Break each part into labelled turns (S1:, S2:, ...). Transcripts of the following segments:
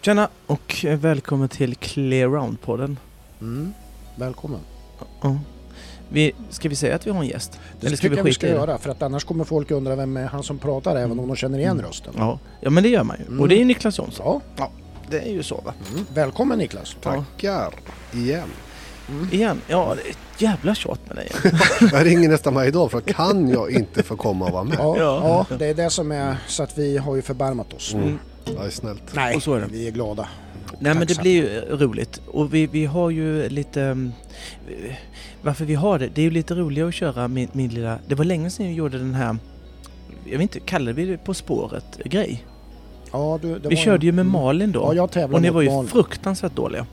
S1: Tjena och välkommen till Clear Round-podden.
S2: Mm. Välkommen.
S1: Ja. Vi, ska vi säga att vi har en gäst?
S2: Det
S1: Eller ska
S2: tycker
S1: vi
S2: jag vi
S1: skita
S2: ska
S1: i det?
S2: göra för att annars kommer folk undra vem är han som pratar även om de känner
S1: Mm.
S2: igen rösten.
S1: Ja, ja men det gör man ju.
S2: Mm.
S1: Och det är ju Niklas Jonsson.
S2: Ja.
S1: Det är ju så va?
S2: Mm. Välkommen Niklas.
S3: Tackar! Igen.
S1: Igen, ja det är ett jävla tjat med dig.
S3: Jag ringer nästan varje dag för kan jag inte få komma och vara med?
S2: Ja,
S1: Ja.
S2: ja. det är det som är så att vi har ju förbarmat oss.
S1: Mm.
S3: Ja, det är snällt.
S2: Nej,
S1: Och så är det.
S2: vi är glada.
S1: Nej men det
S2: Tacksam.
S1: blir ju roligt. Och vi, vi har ju lite... mm, eh, Varför vi har det? Det är ju lite roligare att köra min, min lilla... Det var länge sedan jag gjorde den här... Jag vet inte, kallade vi det På spåret-grej?
S2: Ja, du, det
S1: Vi
S2: var
S1: körde ju med
S2: Mm.
S1: Malin då.
S2: Ja, jag tävlade
S1: och ni
S2: mot
S1: var ju
S2: Malin.
S1: fruktansvärt dåliga.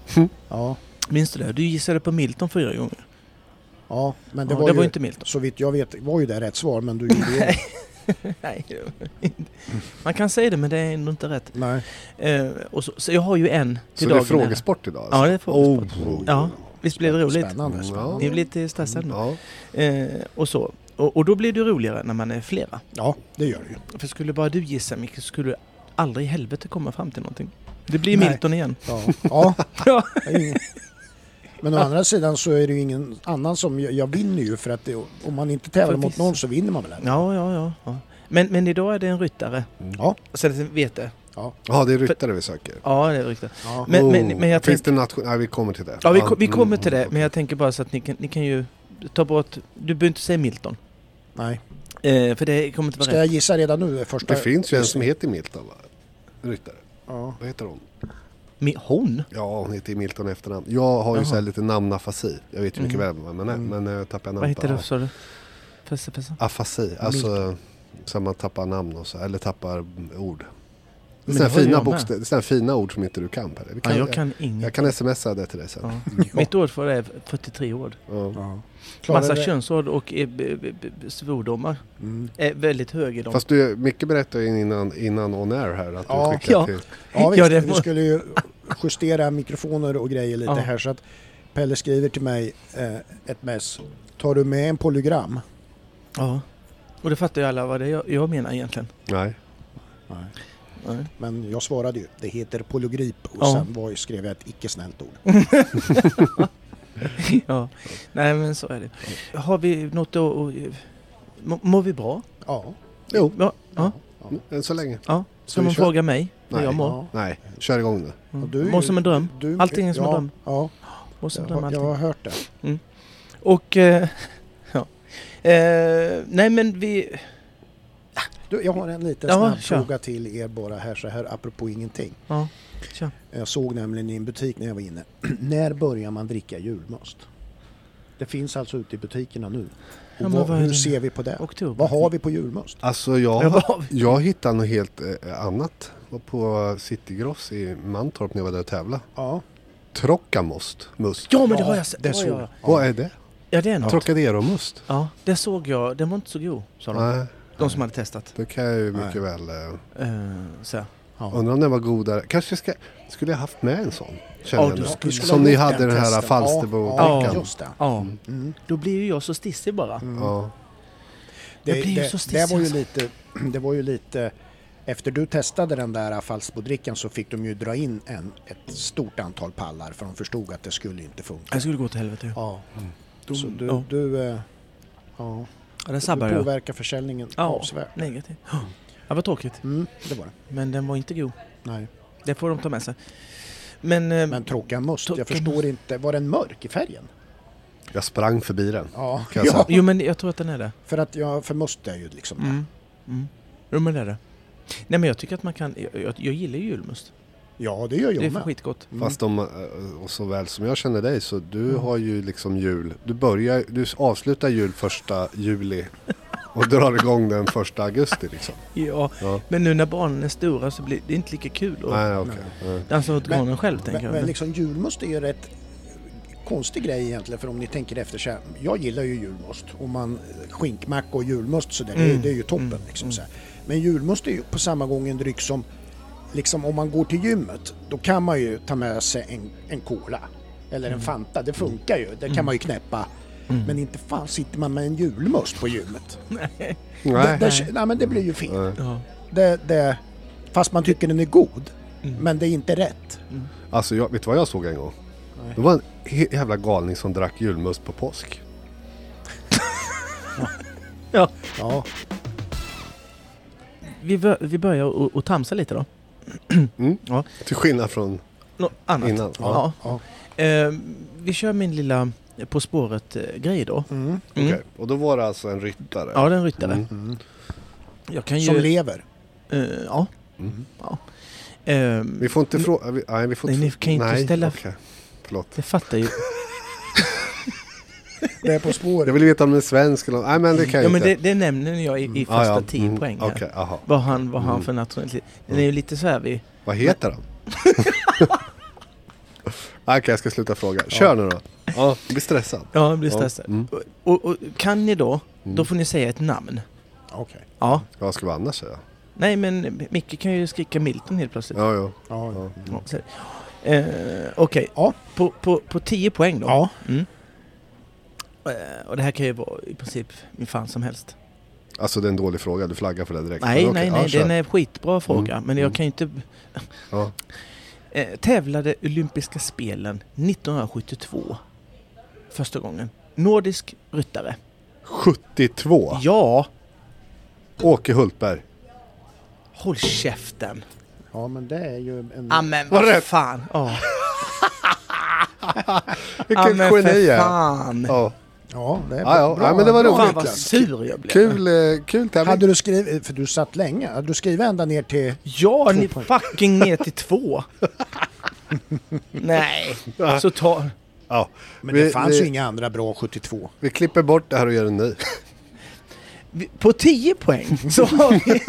S2: Ja,
S1: Minns du det? Du gissade på Milton fyra gånger.
S2: ja, men
S1: Men det,
S2: det,
S1: ja,
S2: var,
S1: det
S2: ju,
S1: var ju inte Milton.
S2: Så vitt jag vet var ju det rätt svar men du gjorde ju
S1: Nej, det var inte. man kan säga det men det är ändå inte rätt.
S2: Nej.
S1: Eh, och så, så jag har ju en till
S3: Så det är
S1: dagen här.
S3: frågesport idag?
S1: Ja, det är frågesport.
S3: Oh.
S1: Ja, visst blir det roligt?
S2: Spännande. spännande.
S1: Ni blir lite stressade nu.
S3: Mm, Ja.
S1: Eh, och så. Och, och då blir det ju roligare när man är flera.
S2: Ja, det gör det ju.
S1: För skulle bara du gissa Micke så skulle du aldrig i helvete komma fram till någonting. Det blir
S2: Nej.
S1: Milton igen.
S2: Ja. ja.
S1: Ja.
S2: det är ingen- Men å andra sidan så är det ju ingen annan som... Jag, jag vinner ju för att det, om man inte tävlar mot
S1: Förvisso.
S2: någon så vinner man väl? ändå.
S1: Ja, ja, ja. ja. Men, men idag är det en ryttare.
S2: Ja.
S1: Så det vet det.
S3: ja, det är ryttare vi söker.
S1: Ja, det är ryttare.
S2: Ja.
S1: Men,
S3: Oh.
S1: men, men jag
S3: Finns
S1: tänkte...
S3: det nation... Nej, vi kommer till det.
S1: Ja, vi, ko- vi kommer till det.
S3: mm,
S1: Men jag tänker bara så att ni kan, ni kan ju ta bort... Du behöver inte säga Milton.
S2: Nej.
S1: Eh, för det kommer inte vara
S2: Ska
S1: rätt.
S2: jag gissa redan nu? det Första...
S3: Det finns ju en som heter Milton, va? Ryttare.
S2: Ja.
S3: Vad heter hon?
S1: Mi- Hon?
S3: Ja, hon heter ju Milton i efternamn. Jag har ju
S1: Jaha.
S3: så här lite namnafasi. Jag vet ju mycket
S1: Mm.
S3: väl vem man är,
S2: Mm.
S3: men jag tappar jag namnet
S1: Vad heter
S3: på.
S1: det, sa du? Fäste, fäste.
S3: Afasi, alltså så att man tappar namn och så, eller tappar mm, ord. Det är
S1: Men
S3: sådana
S1: det har
S3: fina,
S1: jag med.
S3: boksta- det är såna här fina ord som inte du kan Per. Vi
S1: Ja,
S3: Kan,
S1: jag kan
S3: jag,
S1: inget.
S3: jag kan smsa det till dig sen.
S1: Ja. Mitt ord för det är 43 ord.
S3: Ja.
S2: Ja. Klarar
S1: Massa
S2: det-
S1: könsord och eh, b- b- b- svordomar.
S2: Mm.
S1: Är väldigt hög i dem.
S3: Fast du, Micke berättade ju innan, innan on air här att
S2: Ja.
S3: du skickade
S1: Ja.
S3: till...
S2: Ja, visst,
S1: Ja, det
S2: vi
S1: var-
S2: skulle ju justera mikrofoner och grejer lite
S1: Ja.
S2: här så att Pelle skriver till mig eh, ett mess. Tar du med en polygram?
S1: Ja. Och det fattar ju alla vad det är jag, jag menar egentligen.
S3: Nej.
S2: Nej.
S1: Nej.
S2: Men jag svarade ju, det heter polygrip och
S1: Ja.
S2: sen var, ju- skrev jag ett icke snällt ord.
S1: ja. Nej men så är det. Har vi något att... Och, må- mår vi bra?
S2: Ja.
S3: Jo,
S1: Ja. ja.
S2: ja.
S3: mm, än så länge.
S1: ja. Ska
S3: vi
S1: man
S3: kör?
S1: fråga mig hur
S3: Nej.
S1: jag mår?
S2: Ja.
S3: Nej, kör igång nu.
S1: Mm.
S2: Och du är
S1: Mår
S2: ju-
S1: som en dröm.
S2: Du,
S1: Allting är som en
S2: ja,
S1: dröm.
S2: Ja,
S1: Mår som en
S2: jag,
S1: dröm
S2: har-
S1: allting.
S2: jag har hört det.
S1: Och... Eh, ja. Eh, nej men vi...
S2: Du, jag har en liten
S1: Ja,
S2: snabb
S1: kör.
S2: fråga till er bara här så här apropå ingenting.
S1: Ja.
S2: Jag såg nämligen i en butik när jag var inne. när börjar man dricka julmust? Det finns alltså ute i butikerna nu. Och
S1: men
S2: vad,
S1: vad är
S2: hur
S1: det?
S2: ser vi på det?
S1: Oktober.
S2: Vad har vi på julmust?
S3: Alltså
S1: Ja,
S3: jag,
S1: vad har vi?
S3: jag hittade något helt eh, annat. Var på Citygross i Mantorp när jag var där och tävlade.
S2: Ja,
S3: Trockamost. Must.
S1: Ja men det har jag sett.
S2: Det
S1: Ja,
S2: såg
S1: ja.
S2: jag.
S3: Vad är det?
S1: Ja det är något.
S3: Trocadero-must?
S1: Ja, det såg jag. Den var inte så god, sa de.
S3: Nej,
S1: De som hade testat.
S3: det kan jag ju
S2: Nej.
S3: mycket väl... Eh,
S1: Eh, så. här.
S2: Ja.
S3: Undrar om den var godare. Kanske ska, skulle jag haft med en sån. Känner
S1: Ja,
S3: jag
S1: du
S3: nu.
S1: skulle
S3: Som
S2: ha
S3: ni
S2: gjort
S3: hade den här
S2: testen.
S3: Falsterbo-drickan.
S2: Ja,
S3: Ja,
S2: ja, just det.
S1: Ja,
S2: Mm.
S1: då blir ju jag så stissig bara.
S3: ja.
S2: Det,
S1: Jag blir ju
S2: det,
S1: så stissig
S2: det, var ju
S1: alltså.
S2: lite, det var ju lite... Efter du testade den där Falsterbodrickan så fick de ju dra in en, ett stort antal pallar för de förstod att det skulle inte funka.
S1: Jag skulle gå till helvete. Ja,
S2: Ja. Så du,
S1: Mm. ja.
S2: du, eh, ja,
S1: den
S2: du
S1: sabbade jag.
S2: påverkar försäljningen
S1: Ja.
S2: avsevärt.
S1: Negativt. Ja, vad tråkigt.
S2: Mm, det var det.
S1: Men den var inte god.
S2: Nej.
S1: Det får de ta med sig. Men... eh,
S2: Men tråkiga must, jag
S1: Tråkiga
S2: förstår inte. Var den mörk i färgen?
S3: Jag sprang förbi den.
S2: Ja,
S3: Kan jag
S2: ja.
S1: Jo, men jag tror att den är det.
S2: för att jag, för must är ju liksom...
S1: Mm. Mm. Jo, men det är det. Nej, men jag tycker att man kan... Jag, jag, jag gillar ju julmust.
S2: Ja, det gör
S1: Det är
S2: jag
S1: för
S2: med.
S1: skitgott.
S2: Mm.
S3: Fast om, eh, och så väl som jag känner dig så du
S1: Mm.
S3: har ju liksom jul. Du börjar, du avslutar jul första juli och drar igång den första augusti liksom.
S1: Ja,
S3: Ja.
S1: men nu när barnen är stora så blir det inte lika kul att
S3: Nej, okej. Nej.
S1: dansa Alltså åt
S2: Men-
S1: granen själv, tänker
S2: Men,
S1: jag.
S2: men liksom julmust är ju rätt konstig grej egentligen för om ni tänker efter så här, jag gillar ju julmust och man skinkmacka och julmust så där, det, är-
S1: Mm,
S2: det är ju toppen
S1: mm,
S2: liksom så här. Men julmust är ju på samma gång en dryck som liksom om man går till gymmet då kan man ju ta med sig en, en cola eller
S1: Mm.
S2: en Fanta, det funkar ju, det kan man ju knäppa. Men inte fan sitter man med en julmust på gymmet. Det,
S3: Nej.
S2: det, nej men det blir ju fel.
S3: Nej.
S1: Ja.
S2: Det, det, fast man tycker den är god.
S1: Mm.
S2: Men det är inte rätt.
S3: Alltså, jag, vet du vad jag såg en gång? Det var en he- jävla galning som drack julmust på påsk.
S1: Ja.
S2: Ja,
S1: Vi, bör, vi börjar och, och tamsa lite då.
S3: Till skillnad från
S1: Något annat.
S3: innan.
S1: Mm. Ja.
S2: ja.
S1: Eh, vi kör min lilla eh, På spåret-grej då.
S2: Mm.
S1: Mm.
S3: Okej. Och då var det alltså en ryttare.
S1: Ja, den ryttare.
S3: Mm.
S2: Mm.
S1: Jag kan ju...
S2: Som lever.
S1: eh, ja.
S3: Mm.
S1: ja. Eh,
S3: Vi får inte fråga... vi- Nej, vi får
S1: Nej,
S3: inte...
S1: ni kan ju inte
S3: nej,
S1: ställa-
S3: okej. Förlåt.
S1: det fattar ju.
S2: Det är På
S3: Jag
S2: spåret.
S3: ville veta om den är svensk eller... Nej, men det kan
S1: Ja,
S3: jag
S1: men
S3: inte.
S1: det, det nämner jag i, i
S3: Ah,
S1: första
S3: ja.
S1: 10
S3: Mm.
S1: poäng här.
S3: Okej, aha.
S1: Vad han, vad han
S3: Mm.
S1: för nationalitet. Den är ju lite så här vi...
S3: Vad heter han? Okej, jag ska sluta fråga. Kör nu då. Ja, jag blir stressad.
S1: Ja, jag blir
S3: Ja.
S1: stressad.
S3: Mm.
S1: Och, och, och kan ni då, då
S3: Mm.
S1: får ni säga ett namn.
S2: Okej.
S1: Ja.
S3: Vad ska vi annars säga?
S1: Nej, men Micke kan ju skrika Milton helt plötsligt.
S3: Ja, ja.
S2: Ja, ja.
S3: ja.
S1: Ja, så är det. Eh, Okej,
S2: Ja.
S1: på, på, på 10 poäng då.
S2: ja.
S1: Mm. Eh, och det här kan ju vara i princip min fan som helst.
S3: Alltså det är en dålig fråga, du flaggar för det direkt.
S1: Nej,
S3: Men okej,
S1: nej,
S3: ja,
S1: nej,
S3: kör.
S1: den är en skitbra fråga. Men jag
S3: mm.
S1: kan ju inte...
S3: Ja.
S1: Eh, tävlade olympiska spelen 1972. Första gången. Nordisk ryttare.
S3: 72!
S1: Ja!
S3: Åke Hultberg.
S1: Håll käften!
S2: Ja, men det är ju en...
S1: Ja men vad
S3: Var det Mm. rätt?
S1: fan! Ja. Ja
S3: Vilken
S1: men
S3: geni
S1: för
S3: jag är.
S1: fan!
S3: Ja.
S2: Ja, det är
S3: Ja, ja.
S2: bra.
S3: Ja, men det var
S2: bra,
S1: Fan vad
S2: Niklas.
S1: sur jag blev!
S3: Kul, eh, kul tävling.
S2: Hade du skrivit, för du satt länge, hade du skrivit ända ner till...
S1: Ja, ni
S2: poäng.
S1: fucking ner till två! Nej, så ta...
S3: Ja.
S2: Men det
S3: Vi-
S2: fanns
S3: vi-
S2: ju inga andra bra 72.
S3: Vi klipper bort det här och gör en ny.
S1: vi- På 10 poäng så har vi...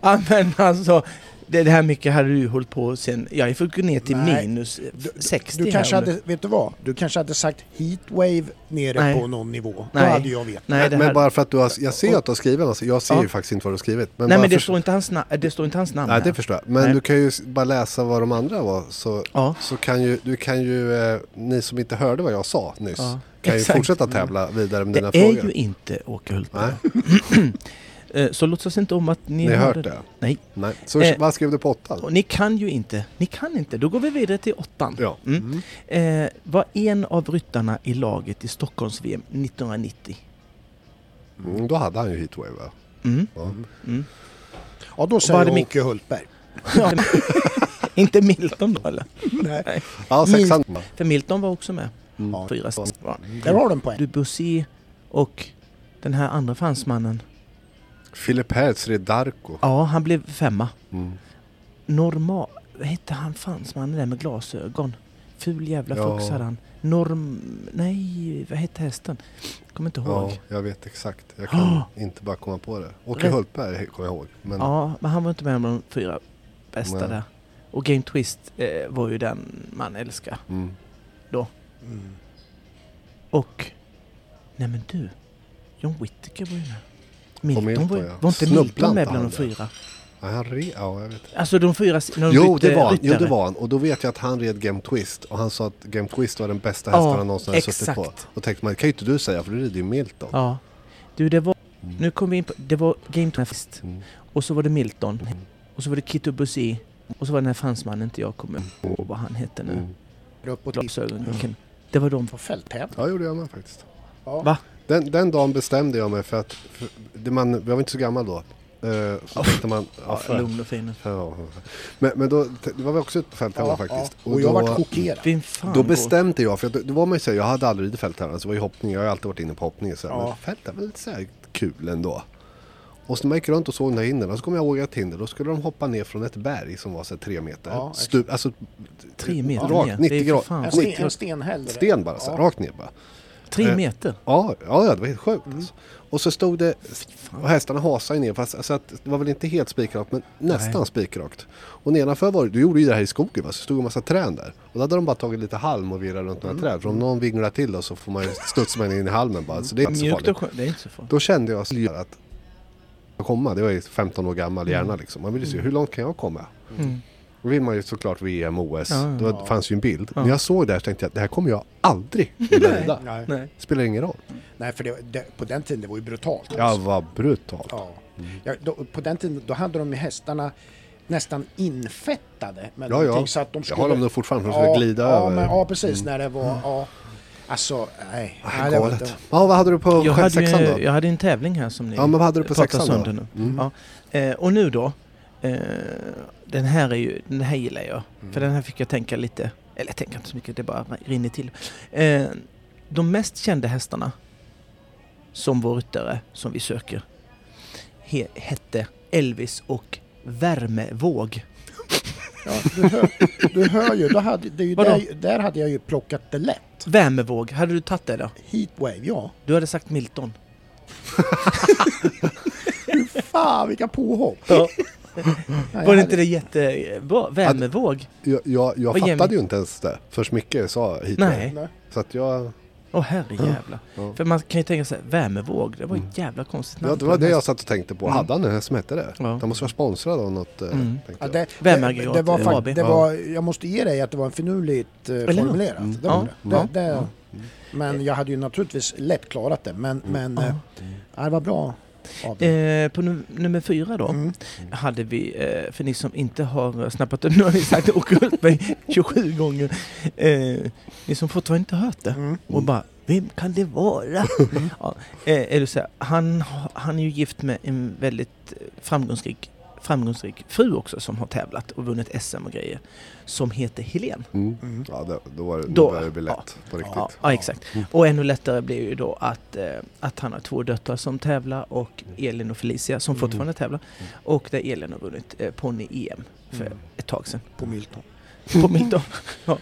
S1: ja men alltså, det det här mycket hade du hållit på sen... Ja, jag fick gå ner till
S2: Nej.
S1: minus eh, 60
S2: Du kanske
S1: här om
S2: hade, vet du vad? Du kanske hade sagt heatwave nere
S1: Nej.
S2: på någon nivå. Då
S1: Nej.
S2: hade jag vetat.
S1: Nej, det här...
S3: Men bara för att du har, jag ser att du har skrivit den, alltså, jag ser
S1: Ja.
S3: ju faktiskt inte vad du har skrivit. Men
S1: Nej
S3: bara
S1: men det
S3: för-
S1: står inte hans, na... det står inte hans namn
S3: Nej,
S1: här.
S3: det förstår jag. Men
S1: Nej.
S3: du kan ju s- bara läsa vad de andra var. Så,
S1: Ja.
S3: så kan ju, du kan ju, eh, ni som inte hörde vad jag sa nyss,
S1: Ja.
S3: kan
S1: Exakt. Mm.
S3: ju fortsätta tävla vidare med
S1: Det
S3: dina
S1: är
S3: frågor.
S1: ju inte Åke Hultberg.
S3: Nej,
S1: Eh, Så låtsas inte om att ni,
S3: ni har hört
S1: hörde-
S3: det.
S1: Nej.
S3: Nej. Så
S1: Eh.
S3: vad skrev du på åttan?
S1: Och ni kan ju inte. Ni kan inte. Då går vi vidare till åttan.
S3: Ja.
S1: Mm. Eh, var en av ryttarna i laget i Stockholms-VM 1990.
S3: Mm, då hade han ju heatwave va?
S1: Mm.
S3: Ja.
S1: Mm.
S2: Ja, då
S1: vad
S2: säger
S1: hade
S2: jag
S1: min-
S2: Micke Hultberg.
S1: Ja. inte Milton då eller?
S2: Nej.
S3: Ja,
S2: Minst-
S3: sexan. Mm.
S1: För Milton var också med.
S2: Ja.
S1: Fyra stycken. Ja.
S2: Där har du en poäng.
S1: Du Bussi och den här andra fransmannen.
S3: Philip Herzri Darko.
S1: Ja, han blev femma.
S3: Mm.
S1: Normal... Vad hette han fransmannen där med glasögon? Ful jävla
S3: Ja.
S1: fux hade han. Norm... Nej, vad hette hästen? Kommer inte ihåg.
S3: Ja, jag vet exakt. Jag kan
S1: Ah.
S3: inte bara komma på det. Åke
S1: Rätt.
S3: Hultberg kommer jag ihåg. Men
S1: Ja, men han var inte med om de fyra bästa
S3: Nej.
S1: där. Och Game Twist eh, var ju den man älskar.
S3: mm,
S2: Mm.
S1: Och... Nej men du. John Whittaker var ju med.
S3: Och
S1: Milton,
S3: Milton,
S1: var, ju-
S3: ja.
S1: var inte
S3: Snubblade
S1: Milton med
S3: inte
S1: bland de
S3: han där?
S1: fyra?
S3: ja, han re... ja, jag vet.
S1: Alltså de fyra... s- När de
S3: Jo
S1: bytte
S3: det, var, han. jo,
S1: ryttare.
S3: det var han. Och då vet jag att han red Game Twist. Och han sa att Game Twist var den bästa hästen
S1: Ja,
S3: han någonsin hade suttit
S1: exakt.
S3: på. Då tänkte man, det kan ju inte du säga för du rider ju Milton.
S1: Ja. Du, det var...
S3: Mm.
S1: Nu kom vi in på... Det var Game Twist.
S3: Mm.
S1: Och så var det Milton.
S3: Mm.
S1: Och så var det Kitty Bussi. Och så var det den här fransmannen inte jag kommer ihåg vad han hette nu.
S3: Mm.
S2: Uppåt i-
S1: Glasögon. Det var de.
S2: på fälttävlan.
S3: Ja, gjorde jag med faktiskt.
S2: Ja.
S1: Va?
S3: Den, den dagen bestämde jag mig för att, för, det man, jag var inte så gammal då. Eh, så tänkte man, ja, för,
S1: Lugn och fin.
S3: Ja. Men, men då, det var vi också ute på fälttävlan
S2: Ja,
S3: faktiskt.
S2: ja. Och jag
S3: då,
S2: vart chockerad.
S1: Vem fan
S3: Då
S1: går-
S3: bestämde jag, för att, då var man ju såhär, jag hade aldrig ridit fälttävlan, så det var ju hoppning, jag har ju alltid varit inne på hoppning. Så här,
S2: Ja.
S3: Men fälttävlan är lite såhär kul ändå. Och så när man gick runt och såg de där hindren, och så kom jag ihåg ett hinder, då skulle de hoppa ner från ett berg som var såhär tre meter.
S2: Ja, exakt.
S3: Stup, alltså
S1: Tre meter
S3: rakt,
S1: ner.
S3: 90
S1: Det är för
S3: grader.
S1: fan-
S2: En
S1: Ja,
S2: sten,
S1: 90.
S2: en stenhäll.
S3: Sten bara såhär,
S2: Ja.
S3: rakt ner bara.
S1: Tre
S3: Eh,
S1: meter?
S3: Ja, ja, ja, det var helt sjukt
S1: Mm.
S3: alltså. Och så stod det, och hästarna hasade ju ner, fast alltså, att, det var väl inte helt spikrakt, men nästan
S1: Nej.
S3: spikrakt. Och nedanför var det, du gjorde ju det här i skogen va, så stod en massa träd där. Och då hade de bara tagit lite halm och virrat runt några
S1: Mm.
S3: träd, för om någon vinglar till då så får man ju studsa man in i halmen bara, så det är inte så
S1: Mjukt och
S3: farligt.
S1: skönt. Det är inte så farligt.
S3: Då kände jag så här att komma, det var ju 15 år gammal hjärna liksom. Man ville se, hur långt kan jag komma?
S1: Mm.
S3: Då vill man ju såklart VM, OS,
S1: Ja, ja.
S3: då fanns ju en bild.
S1: Ja.
S3: När jag såg det här så tänkte jag, det här kommer jag aldrig vilja rida.
S2: Nej.
S1: Nej.
S3: Spelar ingen roll.
S2: Nej, för det, det, på den tiden det var ju brutalt.
S3: Ja, vad brutalt.
S2: Ja. Ja, då, på den tiden då hade de ju hästarna nästan infettade med
S3: Ja, ja.
S2: någonting så att de skulle...
S3: Jag har dem nog fortfarande för att de ska glida
S2: ja,
S3: över. Mm.
S2: Men, ja, precis. När det var... Ja. Alltså, nej. nej, det var
S3: Galet.
S2: inte-
S3: Ja, vad hade du på
S1: Jag hade,
S3: sexan då?
S1: ju, jag hade en tävling här som ni
S3: Ja, men vad hade du på
S1: pratar
S3: sexan då?
S1: sönder nu. Ja. Eh, och nu då. Eh, den här är ju, den här gillar jag.
S2: Mm.
S1: För
S3: Mm.
S1: den här fick jag tänka lite. Eller jag tänker inte så mycket, det bara rinner till. Eh, de mest kända hästarna som vår ryttare som vi söker he, hette Elvis och Värmevåg.
S2: Ja, du, hör, du hör ju, då hade, det är ju
S1: Vadå?
S2: där, där hade jag ju plockat det lätt.
S1: Värmevåg, hade du tagit det då?
S2: Heatwave, ja.
S1: Du hade sagt Milton.
S2: Fan vilka påhopp! Nej,
S1: Var det
S2: jag
S1: inte det jättebra? Värmevåg?
S3: Jag, jag, jag
S1: Vad
S3: fattade
S1: Jimmy?
S3: ju inte ens det förrän Micke sa hit.
S2: hade-
S1: Nej.
S2: Nej.
S3: Så att jag,
S1: Åh herrejävlar.
S3: Ja. Mm.
S1: För man kan ju tänka sig, Värmevåg, det var ett jävla konstigt namn.
S3: ja, det var det jag satt och tänkte på. Hade han en häst som hette det?
S1: Mm. Ja.
S3: Han måste vara sponsrad av något. eh,
S1: Mm.
S3: tänkte
S2: Ja,
S3: jag.
S2: det,
S1: Vämaggregat,
S2: det var
S1: eh,
S2: fakt-
S1: AB.
S2: det var, jag måste ge dig att det var en finurligt eh,
S1: Eller hur?
S2: formulerat. Det
S1: Ja,
S2: var det.
S1: ja, Mm.
S2: Det, det, Men jag hade ju naturligtvis lätt klarat det. Men, men eh, ja, det var bra av dig.
S1: Eh, på num- nummer fyra då
S2: Mm.
S1: hade vi, eh, för ni som inte har eh, snappat upp, nu har vi sagt ockult mig 27 gånger. Eh, ni som fortfarande inte hört det.
S2: Mm.
S1: Och bara, vem kan det vara?
S3: Mm.
S1: ja, eh, är det så här, han, har- han är ju gift med en väldigt eh, framgångsrik, framgångsrik fru också som har tävlat och vunnit SM och grejer. Som heter Helen.
S3: Mm.
S2: Mm.
S3: Ja, det, då var det, då,
S1: Då-
S3: började det bli lätt på riktigt. Mm.
S1: Ja, ja, exakt. Och ännu lättare blir ju då att, eh, att han har två döttrar som tävlar och
S3: Mm.
S1: Elin och Felicia som fortfarande tävlar. Och där Elin har vunnit eh, ponny-EM för
S3: Mm.
S1: ett tag sedan.
S2: På Milton.
S1: På Milton. ja.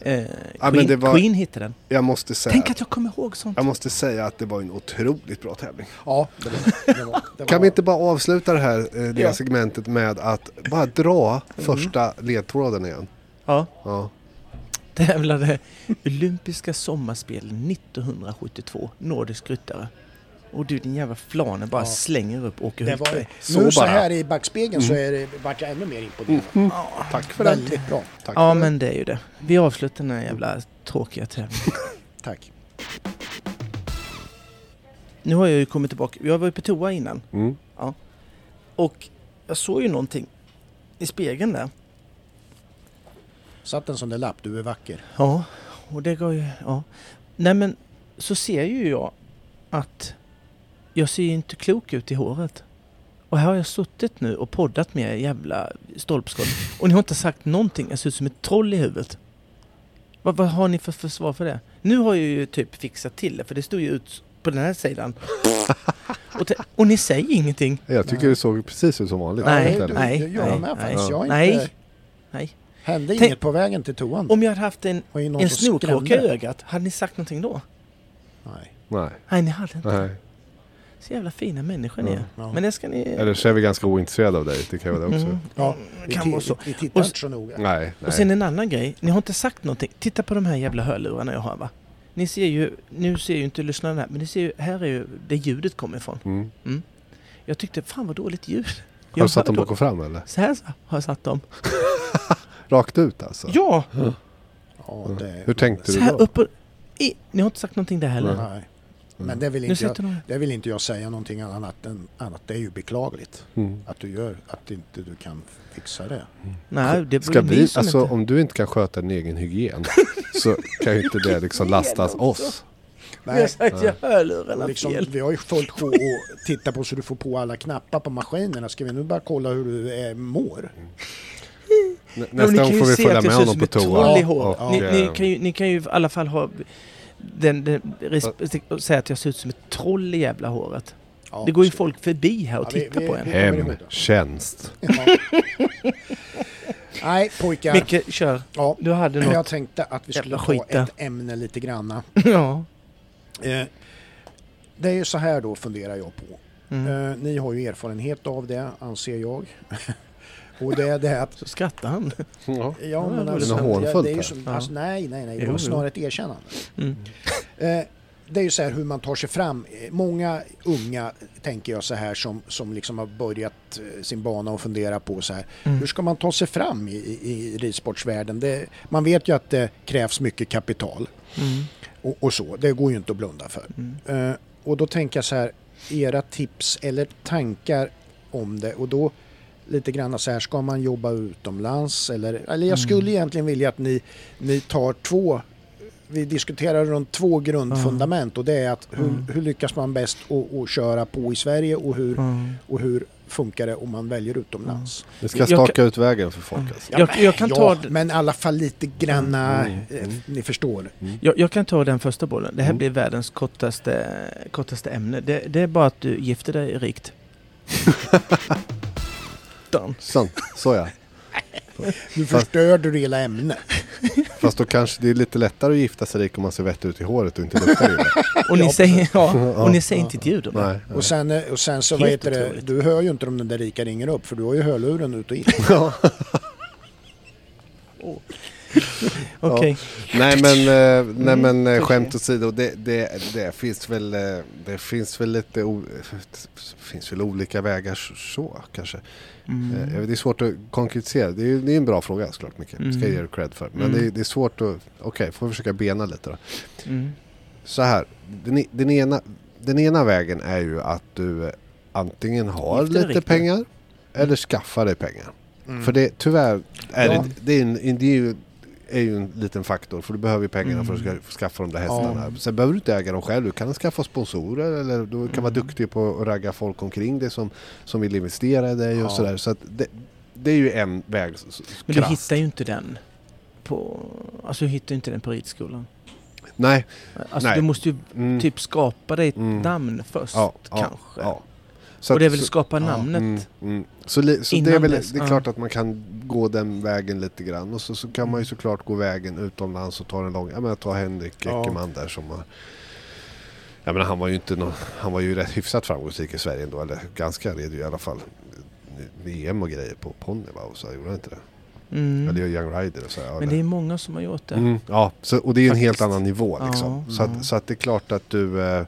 S1: eh,
S3: men
S1: Queen,
S3: det var-
S1: Queen hittade den.
S3: Jag måste säga...
S1: Tänk att jag kommer ihåg sånt.
S3: Jag måste säga att det var en otroligt bra tävling.
S2: Ja, det var, det var, det var,
S3: Kan vi inte bara avsluta det här eh, det här
S1: Ja.
S3: segmentet med att bara
S1: Mm.
S3: dra första ledtråden igen?
S1: Ja,
S3: Ja.
S1: tävlade olympiska sommarspel 1972, nordisk ryttare. Och du din jävla flane bara slänger upp Åke
S2: det var,
S1: Hultberg.
S3: Så
S2: nu så
S3: bara.
S2: här i backspegeln
S1: Mm.
S2: så är det, vart jag ännu mer imponerad.
S3: Mm. Tack för den.
S2: Väldigt bra.
S3: Tack
S1: Ja
S3: för den.
S1: men det är ju det. Vi avslutar den här jävla tråkiga tävlingen.
S2: Tack.
S1: Nu har jag ju kommit tillbaka. Jag var ju på toa innan.
S3: Mm.
S1: Ja. Och jag såg ju någonting i spegeln där.
S2: Satt en sån där lapp, du är vacker.
S1: Ja, och det går ju... Ja. Nej men, så ser ju jag att jag ser ju inte klok ut i håret. Och här har jag suttit nu och poddat med er jävla stolpskott. Och ni har inte sagt någonting. Jag ser ut som ett troll i huvudet. Vad, vad har ni för försvar för det? Nu har jag ju typ fixat till det, för det stod ju ut på den här sidan. Och, te- och ni säger ingenting.
S3: Jag tycker det såg precis ut som vanligt.
S1: Nej,
S3: Helt ärligt.
S1: nej,
S2: Jag
S1: nej,
S2: med
S1: nej,
S2: faktiskt. Jag har
S1: nej,
S2: inte-
S1: nej.
S2: Hände
S1: Tänk-
S2: inget på vägen till toan?
S1: Om jag hade haft en,
S2: Var det någon
S1: en
S2: som skrämde
S1: snorkråka i
S2: dig?
S1: ögat, hade ni sagt någonting då?
S2: Nej.
S3: nej.
S1: Nej, ni hade inte.
S3: nej.
S1: Så jävla fina människor ni är.
S2: Ja.
S1: Men det ska ni...
S3: Eller så är vi ganska ointresserade av dig, det kan jag väl också.
S2: Ja,
S1: Det
S2: vi,
S1: kan
S2: ti-
S1: vara så. Mm.
S2: vi
S1: Och
S2: tittar
S1: s-
S2: inte så noga.
S3: Nej, nej.
S1: Mm. Och sen en annan grej. Ni har inte sagt någonting. Titta på de här jävla hörlurarna jag har va. Ni ser ju, nu ser ju inte lyssnarna här, men ni ser ju, här är ju det ljudet kommer ifrån.
S3: Mm.
S1: Jag tyckte, fan vad dåligt ljud.
S3: Har du satt dem
S1: hör
S3: bak och fram eller?
S1: då- Så här så har jag satt dem.
S3: Rakt ut alltså?
S1: Ja!
S2: Ja, det,
S3: Hur tänkte
S1: Så
S3: du
S1: här
S3: då?
S1: upp och... I, ni har inte sagt någonting där heller.
S2: Nej. Men det vill,
S1: Mm. Nu
S2: inte
S1: sitter
S2: jag,
S1: de
S2: det vill inte jag säga någonting annat än annat. Det är ju beklagligt
S3: Mm.
S2: att du gör, att inte du kan fixa det.
S1: Nej, det
S3: Ska
S1: blir
S3: vi,
S1: vi som
S3: alltså
S1: inte...
S3: om du inte kan sköta din egen hygien så kan ju inte det liksom lastas oss.
S1: Vi har
S2: Nej,
S1: sagt ju hörlurarna
S2: liksom,
S1: fel.
S2: vi har ju fullt sjå att titta på så du får på alla knappar på maskinerna. Ska vi nu bara kolla hur du eh, mår?
S3: Nä-
S1: Ja, men ni
S3: Nästa
S1: kan
S3: gång
S1: ju
S3: får vi
S1: se
S3: följa
S1: att jag
S3: med
S1: ser ut
S3: honom
S1: som
S3: på
S1: ett troll i
S3: toa.
S1: håret.
S3: och,
S1: Ni, ni,
S3: eh,
S1: kan ju, ni kan ju i alla fall ha den, den respekt och säga att jag ser ut som ett troll i jävla håret.
S2: Ja,
S1: Det går ju
S2: så-
S1: folk förbi här och
S2: Ja, vi-
S1: tittar
S2: vi-
S1: på en.
S2: vi-
S3: Hemtjänst.
S2: Ja. Nej pojkar.
S1: Micke, kör.
S2: ja.
S1: Du hade
S2: Jag
S1: något.
S2: tänkte att vi skulle
S1: Jävla
S2: ta
S1: skit där.
S2: ett ämne lite granna.
S1: ja.
S2: Eh, det är ju så här då funderar jag på.
S1: Mm.
S2: Eh, ni har ju erfarenhet av det anser jag. och det är det att
S1: Så skrattar han.
S3: Ja.
S2: Ja,
S1: det
S2: men
S1: var
S2: alltså,
S3: något hånfullt
S2: det är ju
S3: här.
S2: som,
S1: Ja.
S2: alltså, nej, nej, nej, det
S1: Jo,
S2: var
S1: jo.
S2: snarare ett erkännande.
S1: Mm.
S2: Eh, det är ju så här hur man tar sig fram. Eh, Många unga, tänker jag så här, som, som liksom har börjat eh, sin bana och fundera på så
S1: Mm.
S2: här, hur ska man ta sig fram i, i, i ridsportsvärlden? Det, man vet ju att det krävs mycket kapital
S1: Mm.
S2: och, och så, det går ju inte att blunda för. Eh, och då tänker jag så här, era tips eller tankar om det och då lite grann så här, ska man jobba utomlands eller, eller
S1: Mm.
S2: jag skulle egentligen vilja att ni, ni tar två, vi diskuterar runt två grundfundament och det är att
S1: Mm.
S2: hur, hur lyckas man bäst att, att köra på i Sverige och hur,
S1: Mm.
S2: och hur funkar det om man väljer utomlands.
S3: Vi ska
S1: Jag
S3: staka
S1: kan-
S3: ut vägen för folk alltså.
S1: Mm. Jag- jag kan ta Mm. d-
S2: men i alla fall lite granna, eh, ni förstår.
S3: Mm.
S1: Jag, jag kan ta den första bollen. Det här blir världens kortaste, kortaste ämne. Det, det är bara att du gifter dig rikt. Done.
S3: Sant, så ja.
S2: Nu förstörde du hela ämnet.
S3: Fast då kanske det är lite lättare att gifta sig rik om man ser vettig ut i håret och inte luktar illa.
S1: Och ni säger, ja, och ni säger inte ett ljud om det.
S3: Nej.
S2: Och sen, eh, och sen så,
S1: Helt
S2: vad heter det,
S1: otroligt.
S2: du hör ju inte om den där rika ringer upp för du har ju hörluren ut och in.
S1: Okej.
S3: Nej men, eh, nej, men eh, skämt åsido, det, det, det, finns väl, eh, det finns väl lite o, det finns väl olika vägar så- så kanske.
S1: Mm.
S3: Eh, jag vet, Det är svårt att konkretisera, det är, ju- det är en bra fråga såklart Micke, ska jag ge dig cred för. Men
S1: Mm.
S3: det, är- det är svårt att, okej, får försöka bena lite då.
S1: Mm.
S3: Så här, den, i- den, ena, den ena vägen är ju att du eh, antingen har
S1: Gifter dig
S3: lite
S1: riktigt. Mm.
S3: pengar eller skaffar dig pengar. För det tyvärr är
S2: Ja.
S3: det, det, är en, det är ju, är ju en liten faktor för du behöver ju pengarna för att
S1: Mm.
S3: ska- för att skaffa de där hästarna. Sen behöver du inte äga dem själv, du kan skaffa sponsorer eller du kan
S1: Mm.
S3: vara duktig på att ragga folk omkring dig som, som vill investera i dig
S2: Ja.
S3: och sådär. Så att det, det är ju en väg. s- s-
S1: Men du
S3: krasst.
S1: hittar ju inte den på... Alltså du hittar ju inte den på ridskolan.
S3: Nej.
S1: Alltså
S3: Nej.
S1: du måste ju
S3: Mm.
S1: typ skapa dig ett
S3: Mm.
S1: namn först
S3: Ja, ja,
S1: kanske.
S3: ja. Så
S1: och
S3: att-
S1: det är väl
S3: så-
S1: skapa
S3: Ja,
S1: namnet.
S3: mm, mm. Så, li, så det är
S1: Innan
S3: väl
S1: dess,
S3: det är
S1: ja.
S3: klart att man kan gå den vägen lite grann. Och så, så kan
S1: Mm.
S3: man ju såklart gå vägen utomlands och ta den långa. Jag menar ta Henrik
S2: Ja.
S3: Eckermann där som har... Jag menar han var ju inte någon, Han var ju rätt hyfsat framgångsrik i Sverige ändå. Eller ganska redo i alla fall. VM och grejer på ponny va? Och så gjorde han inte det.
S1: Mm.
S3: Eller gör Young Rider och så. Ja,
S1: Men det är många som har gjort det.
S3: Mm, ja, så, och det är ju en helt
S1: Faktiskt.
S3: annan nivå. Liksom.
S1: Ja, Mm.
S3: så,
S1: ja.
S3: att, så att det är klart att du, eh,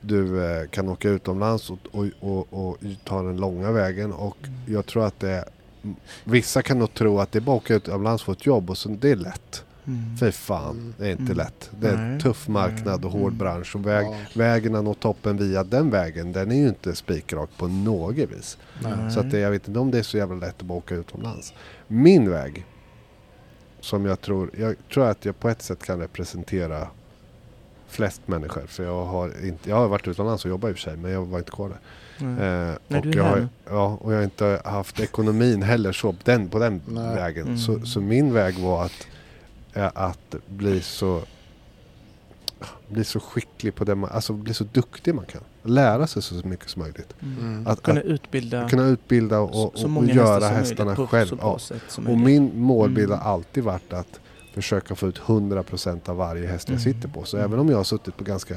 S3: du eh, kan åka utomlands och, och, och, och ta den långa vägen. Och
S1: Mm.
S3: jag tror att det m- Vissa kan nog tro att det är bara att åka utomlands och få ett jobb och så, det är lätt.
S1: Mm.
S3: Fy fan, det är inte
S1: Mm.
S3: lätt. Det är en
S1: Nej. Mm.
S3: tuff marknad och hård bransch. Och väg,
S2: Ja.
S3: vägen att nå toppen via den vägen, den är ju inte spikrak på något vis.
S1: Nej.
S3: Så att det, jag vet inte om det är så jävla lätt att bara åka utomlands. Min väg, som jag tror, jag tror att jag på ett sätt kan representera flest människor. För jag har, inte, jag har varit utomlands och jobbat i och för sig, men jag var inte kvar där.
S1: Mm.
S3: Eh,
S1: Nej,
S3: och,
S1: du är
S3: jag
S1: här
S3: har,
S1: nu.
S3: ja, och jag har inte haft ekonomin heller så, den, på den
S2: Nej.
S3: vägen.
S1: Mm.
S3: Så, så min väg var att, eh, att bli så bli så skicklig på det man, alltså bli så duktig man kan. Lära sig så mycket som möjligt.
S2: Mm.
S3: Att,
S1: Kunna utbilda
S3: kunna utbilda och,
S1: så,
S3: och,
S1: så
S3: och
S1: många
S3: göra
S1: hästar som
S3: hästarna
S1: möjligt på
S3: själv.
S1: så bra
S3: Ja.
S1: sätt som
S3: Och
S1: möjligt.
S3: min målbild
S1: Mm.
S3: har alltid varit att försöka få ut 100% av varje häst jag
S1: Mm.
S3: sitter på. Så
S1: Mm.
S3: även om jag har suttit på ganska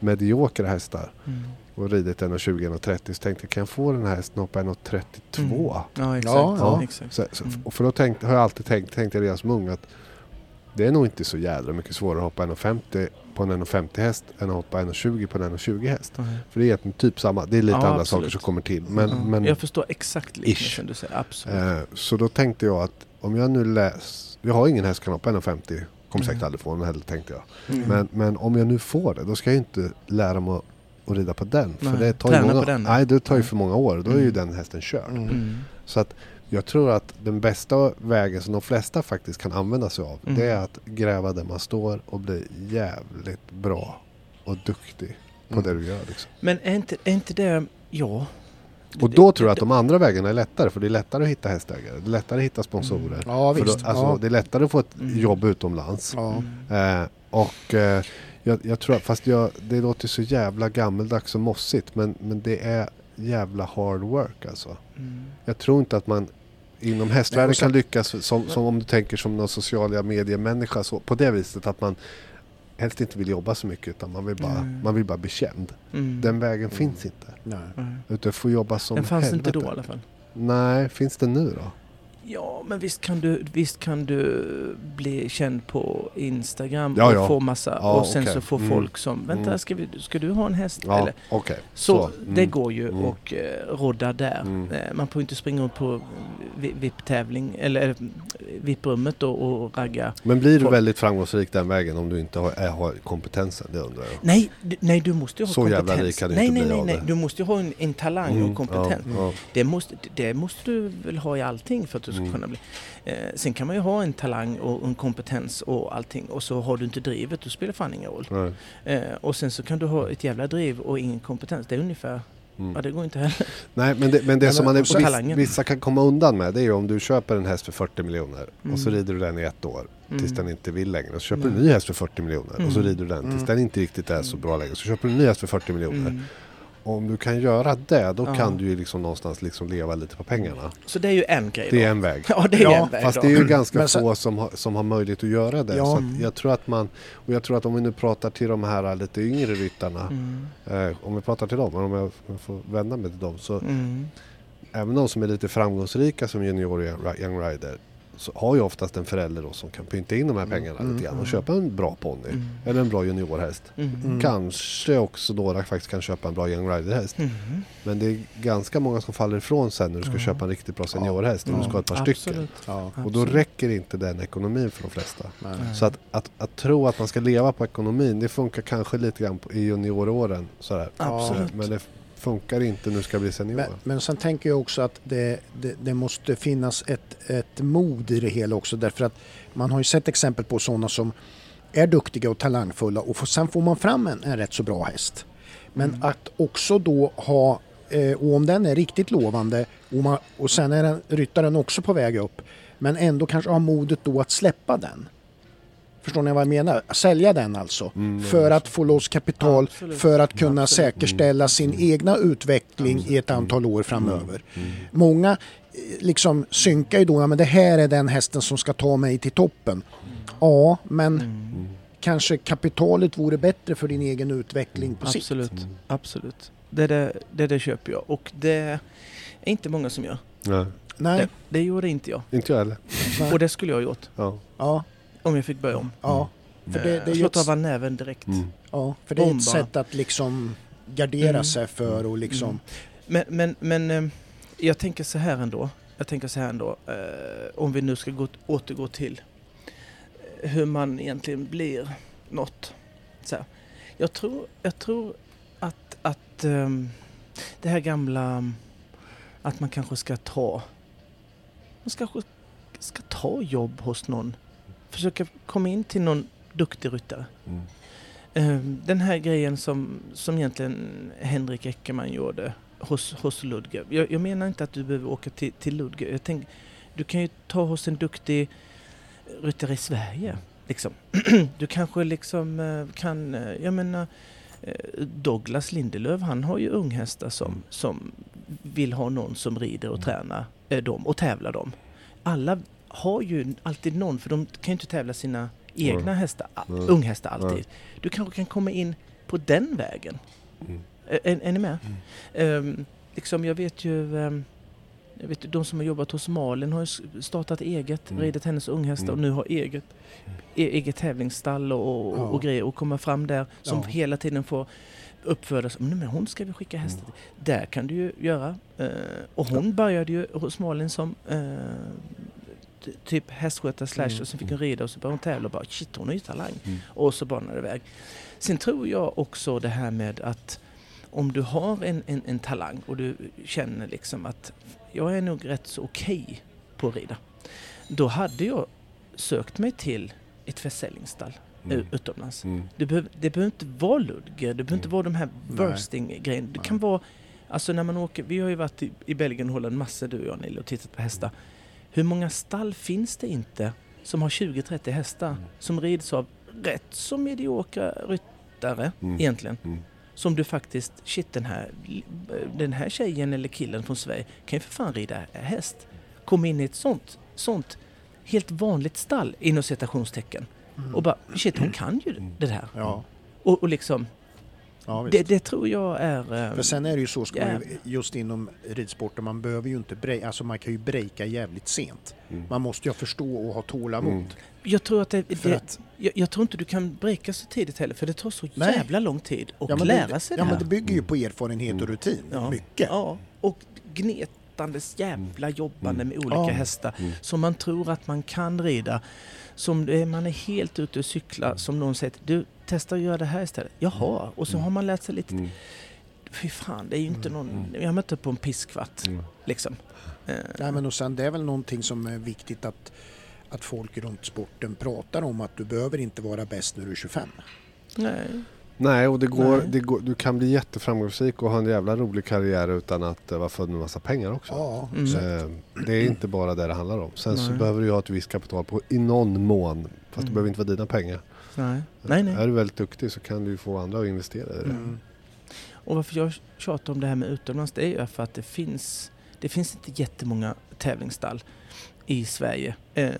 S3: mediokra hästar
S1: Mm.
S3: och ridit 1,20 och 30 så tänkte jag kan jag få den här hästen att hoppa 1,32?
S1: Mm. Ja, exakt.
S2: Ja,
S3: ja.
S1: exakt.
S3: Så, så,
S1: Mm.
S3: och för då tänkte, har jag alltid tänkt, tänkte jag redan som ung att det är nog inte så jädra mycket svårare att hoppa 1,50 på en 1,50 häst än att hoppa 1,20 på en 1,20 häst.
S1: Ja.
S3: För det är egentligen typ samma, det är lite
S1: Ja,
S3: andra
S1: absolut.
S3: saker som kommer till. Men,
S1: Ja.
S3: men,
S1: jag förstår exakt liknelsen du säger, absolut.
S3: Eh, Så då tänkte jag att om jag nu läs... Vi har ingen häst som kan hoppa 1,50. Kommer säkert
S1: Mm.
S3: aldrig få den heller tänkte jag.
S1: Mm.
S3: Men, men om jag nu får det, då ska jag ju inte lära mig att, att rida på den. För
S1: Nej,
S3: det tar ju
S1: träna
S3: många...
S1: på den.
S3: Nej, det tar ju för många år. Då är ju
S1: Mm.
S3: den hästen körd.
S2: Mm.
S1: Mm.
S3: Så att jag tror att den bästa vägen som de flesta faktiskt kan använda sig av.
S1: Mm.
S3: Det är att gräva där man står och bli jävligt bra och duktig på
S2: Mm.
S3: det du gör. Liksom.
S1: Men är inte, är inte det... Ja.
S3: Och
S1: Det-
S3: då
S1: det-
S3: tror jag att de andra vägarna är lättare. För det är lättare att hitta hästägare. Det är lättare att hitta sponsorer.
S2: Ja
S3: För då,
S2: visst.
S3: alltså,
S2: ja.
S3: Det är lättare att få ett
S1: Mm.
S3: jobb utomlands.
S2: Ja.
S3: Eh, och eh, jag, jag tror, fast jag, det låter så jävla gammeldags och mossigt. Men, men det är jävla hard work alltså.
S1: Mm.
S3: Jag tror inte att man inom
S2: Nej,
S3: hästvärlden
S2: och sen-
S3: kan lyckas som, som om du tänker som någon sociala mediemänniska. Så, på det viset att man helst inte vill jobba så mycket utan man vill bara,
S1: Mm.
S3: man vill bara bli känd.
S1: Mm.
S3: Den vägen finns inte.
S2: Nej.
S1: Nej.
S3: Utan du får jobba som
S1: Den fanns inte
S3: helvete.
S1: då i alla fall.
S3: Nej, finns den nu då?
S1: Ja, men visst kan du, visst kan du bli känd på Instagram
S3: Ja,
S1: och
S3: ja.
S1: få massa
S3: Ja,
S1: och sen
S3: okej.
S1: så får
S3: Mm.
S1: folk som Vänta, ska, vi, ska du ha en häst?
S3: Ja,
S1: Eller,
S3: okej.
S1: så
S3: mm.
S1: det går ju
S3: Mm.
S1: och eh, rodda där.
S3: Mm.
S1: Eh, man får ju inte springa upp på vi- VIP-tävling eller eh, VIP-rummet då och ragga.
S3: Men blir du
S1: Folk-
S3: väldigt framgångsrik den vägen om du inte har, är, har kompetensen? Det undrar jag.
S1: Nej, d- nej du måste ju ha
S3: Så jävla
S1: kompetens.
S3: rik kan du
S1: nej,
S3: inte
S1: nej,
S3: bli
S1: nej,
S3: av
S1: nej.
S3: det.
S1: Du måste ju ha en, en talang
S3: Mm,
S1: och kompetens.
S3: Ja,
S1: Det måste, det måste du väl ha i allting för att du ska
S3: Mm.
S1: kunna bli... Eh, sen kan man ju ha en talang och en kompetens och allting och så har du inte drivet, då spelar fan ingen roll.
S3: ja. Nej.
S1: Eh, och sen så kan du ha ett jävla driv och ingen kompetens. Det är ungefär...
S3: Mm.
S1: Ja, det går inte heller.
S3: Nej, men det, men det
S2: men
S3: som man är,
S1: också
S3: vissa,
S1: talangen.
S3: vissa kan komma undan med det är ju om du köper en häst för 40 miljoner
S1: Mm.
S3: och så rider du den i ett år tills
S1: Mm.
S3: den inte vill längre. Och så köper du en
S1: Nej.
S3: ny häst för 40 miljoner och så
S1: Mm.
S3: rider du den tills
S2: Mm.
S3: den inte riktigt är så bra längre. Så köper du en ny häst för 40 miljoner.
S1: Mm.
S3: Och om du kan göra det, då
S1: Ja.
S3: kan du ju liksom någonstans liksom leva lite på pengarna.
S1: Så det är ju en grej då.
S3: Det är en väg.
S1: Ja, det är
S2: Ja,
S1: en väg
S3: Fast
S1: då.
S3: det är ju ganska
S2: Men sen-
S3: få som har, som har möjlighet att göra det.
S2: Ja.
S3: Så att jag tror att man, och jag tror att om vi nu pratar till de här lite yngre ryttarna,
S1: Mm.
S3: eh, om vi pratar till dem, men om jag, om jag får vända mig till dem, så
S1: Mm.
S3: även de som är lite framgångsrika som junior och young- young rider, så har ju oftast en förälder då som kan pynta in de här pengarna lite grann och köpa en bra ponny
S1: Mm.
S3: eller en bra juniorhäst.
S1: Mm.
S3: Kanske också några faktiskt kan köpa en bra young rider-häst.
S1: Mm.
S3: Men det är ganska många som faller ifrån sen när du ska köpa en riktigt bra seniorhäst och du ska ha ett par stycken.
S1: Absolut.
S2: Ja.
S3: Och då
S1: Absolut.
S3: räcker inte den ekonomin för de flesta.
S2: Nej.
S3: Så att, att, att tro att man ska leva på ekonomin, det funkar kanske lite grann på, i junioråren. Sådär.
S1: Absolut.
S3: Men det funkar inte när du ska bli senior.
S2: Men, men sen tänker jag också att det, det, det måste finnas ett, ett mod i det hela också därför att man har ju sett exempel på sådana som är duktiga och talangfulla och får, sen får man fram en, en rätt så bra häst. Men
S1: Mm.
S2: att också då ha, eh, och om den är riktigt lovande och, man, och sen är den, ryttaren också på väg upp, men ändå kanske ha modet då att släppa den. Förstår ni vad jag menar? Sälja den alltså för att få loss kapital
S1: Mm, Absolut. Mm.
S2: för att kunna säkerställa sin egna utveckling i ett antal år framöver.
S1: Mm.
S2: Många eh, liksom synkar ju då, ja men det här är den hästen som ska ta mig till toppen. Ja, men
S1: Mm.
S3: Mm.
S2: kanske kapitalet vore bättre för din egen utveckling på sikt.
S1: Absolut,
S3: Mm.
S1: absolut. Det, där, det där köper jag och det är inte många som gör.
S3: Nej,
S2: Nej,
S1: Det, det gjorde inte jag.
S3: inte jag heller.
S2: Nej.
S1: Och det skulle jag ha gjort
S3: Ja.
S2: ja,
S1: om jag fick börja om.
S2: ja. För det, det är ju
S1: Slått
S2: ett,
S1: av näven direkt.
S3: Mm.
S2: ja, för det är
S1: Om
S2: ett
S1: bara.
S2: sätt att liksom gardera
S1: Mm.
S2: sig för och liksom...
S1: Men, men, men eh, jag tänker så här ändå. Jag tänker så här ändå. Eh, om vi nu ska gå, återgå till eh, hur man egentligen blir något. Så här. Jag, tror, jag tror att, att ehm, det här gamla att man kanske ska ta man ska, kanske ska ta jobb hos någon. Försöka komma in till någon duktig ryttare.
S3: Mm.
S1: Eh, Den här grejen som, som egentligen Henrik Eckermann gjorde hos, hos Ludger. Jag, jag menar inte att du behöver åka till, till Ludger. Jag tänk, du kan ju ta hos en duktig ryttare i Sverige. Liksom. Du kanske liksom eh, kan, eh, jag menar eh, Douglas Lindelöf han har ju unghästar som, som vill ha någon som rider
S3: Mm.
S1: och tränar eh, dem och tävlar dem. Alla har ju alltid någon för de kan ju inte tävla sina egna
S3: Nej.
S1: hästar, a-
S3: Nej.
S1: unghästar alltid.
S3: Nej.
S1: Du kanske kan komma in på den vägen.
S3: Mm.
S1: Ä- Är, är ni med? Ehm, liksom, jag vet ju... ehm, jag vet, ju, de som har jobbat hos Malin har ju s- startat eget,
S3: Mm.
S1: ridit hennes unghästar och nu har eget, e- eget tävlingsstall och, och,
S2: Ja.
S1: och grejer och komma fram där som
S2: Ja.
S1: hela tiden får uppfödas. Men, men hon ska vi skicka hästar
S3: Mm.
S1: till. Där kan du ju göra. Eh, och hon började ju hos Malin som eh, ty- typ hästskötare slash och sen fick hon rida och så började hon tävla och bara shit hon är ju talang. Och så banade det iväg. Sen tror jag också det här med att om du har en, en, en talang och du känner liksom att jag är nog rätt så okej på att rida. Då hade jag sökt mig till ett försäljningsstall
S3: Mm.
S1: mm. utomlands.
S3: Mm.
S1: Du behöver, det behöver inte vara Ludger, det behöver inte vara de här bursting-grejerna. Det kan vara, alltså när man åker, vi har ju varit i, i Belgien och Holland massor du och jag Nille och tittat på hästar. Hur många stall finns det inte som har 20-30 hästar som rids av rätt så mediokra ryttare egentligen?
S3: Mm.
S1: Som du faktiskt, shit den här, den här tjejen eller killen från Sverige kan ju för fan rida häst. Kom in i ett sånt, sånt helt vanligt stall inom citationstecken. Och bara, shit hon kan ju det här.
S2: Ja.
S1: Och, och liksom,
S2: Ja, visst.
S1: Det, det tror jag är...
S2: För
S1: eh,
S2: sen är det ju så, ska man, ju-
S1: Jävlar.
S2: just inom ridsporten, man behöver ju inte break, alltså man kan ju breaka jävligt sent. Man måste ju förstå och ha tålamod.
S3: Mm.
S1: Jag tror att det,
S2: För
S1: det,
S2: att-
S1: jag, jag tror inte du kan breaka så tidigt heller för det tar så
S2: Nej.
S1: jävla lång tid att
S2: Ja, men
S1: lära
S2: det,
S1: sig det
S2: ja,
S1: här.
S2: men det bygger ju på erfarenhet och rutin,
S1: Mm. Ja.
S2: mycket. Mm.
S1: Ja, och gnetandes jävla jobbande med olika
S2: Ja. Mm.
S1: hästar som man tror att man kan rida. Som det, man är helt ute och cyklar som någon säger du testa att göra det här istället.
S2: Mm.
S1: Jaha, och så har man lärt sig lite. Fy fan, det är ju inte någon... Jag mötte på en pisskvatt liksom.
S2: Mm. Nej, men och sen det är väl någonting som är viktigt att, att folk runt sporten pratar om att du behöver inte vara bäst när du är 25.
S1: Nej.
S3: Nej, och det går,
S1: Nej.
S3: det går, du kan bli jätteframgångsrik och ha en jävla rolig karriär utan att eh, vara född med massa pengar också.
S2: Ja,
S1: Mm.
S2: så-
S3: Eh, Det är inte bara det det handlar om. Sen så
S1: Nej.
S3: behöver du ju ha ett visst kapital på, i någon mån. Fast det
S1: Mm.
S3: behöver inte vara dina pengar.
S1: Nej. nej, nej.
S3: Är du väldigt duktig så kan du ju få andra att investera i det.
S2: Mm.
S1: Och varför jag tjatar om det här med utomlands det är ju för att det finns, det finns inte jättemånga tävlingsstall i Sverige, eh,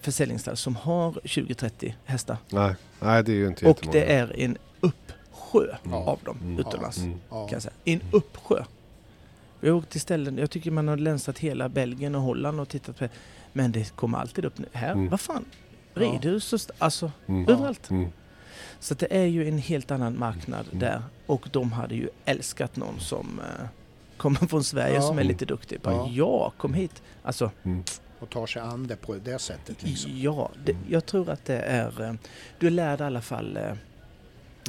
S1: försäljningsstall, som har 20-30 hästar.
S3: Nej, nej, det är ju inte
S1: Och
S3: jättemånga.
S1: det är en uppsjö
S3: Mm.
S1: av dem
S3: Mm.
S1: utomlands.
S3: Mm.
S2: ja.
S1: Kan jag säga. En uppsjö. Jag har åkt till ställen, jag tycker man har länsat hela Belgien och Holland och tittat på Men det kommer alltid upp nu. Här,
S3: Mm.
S1: vad fan?
S2: Ja.
S1: Ridhus och st- alltså
S3: Mm.
S1: överallt.
S3: Mm.
S1: Så att det är ju en helt annan marknad
S3: Mm.
S1: där. Och de hade ju älskat någon som eh, kommer från Sverige
S2: Ja.
S1: som är lite duktig. Bara,
S2: Ja.
S1: ja. kom hit. Alltså,
S2: Och tar sig an det på det sättet liksom.
S1: ja. Det,
S3: Mm.
S1: jag tror att det är... Eh, du lär dig i alla fall... Eh,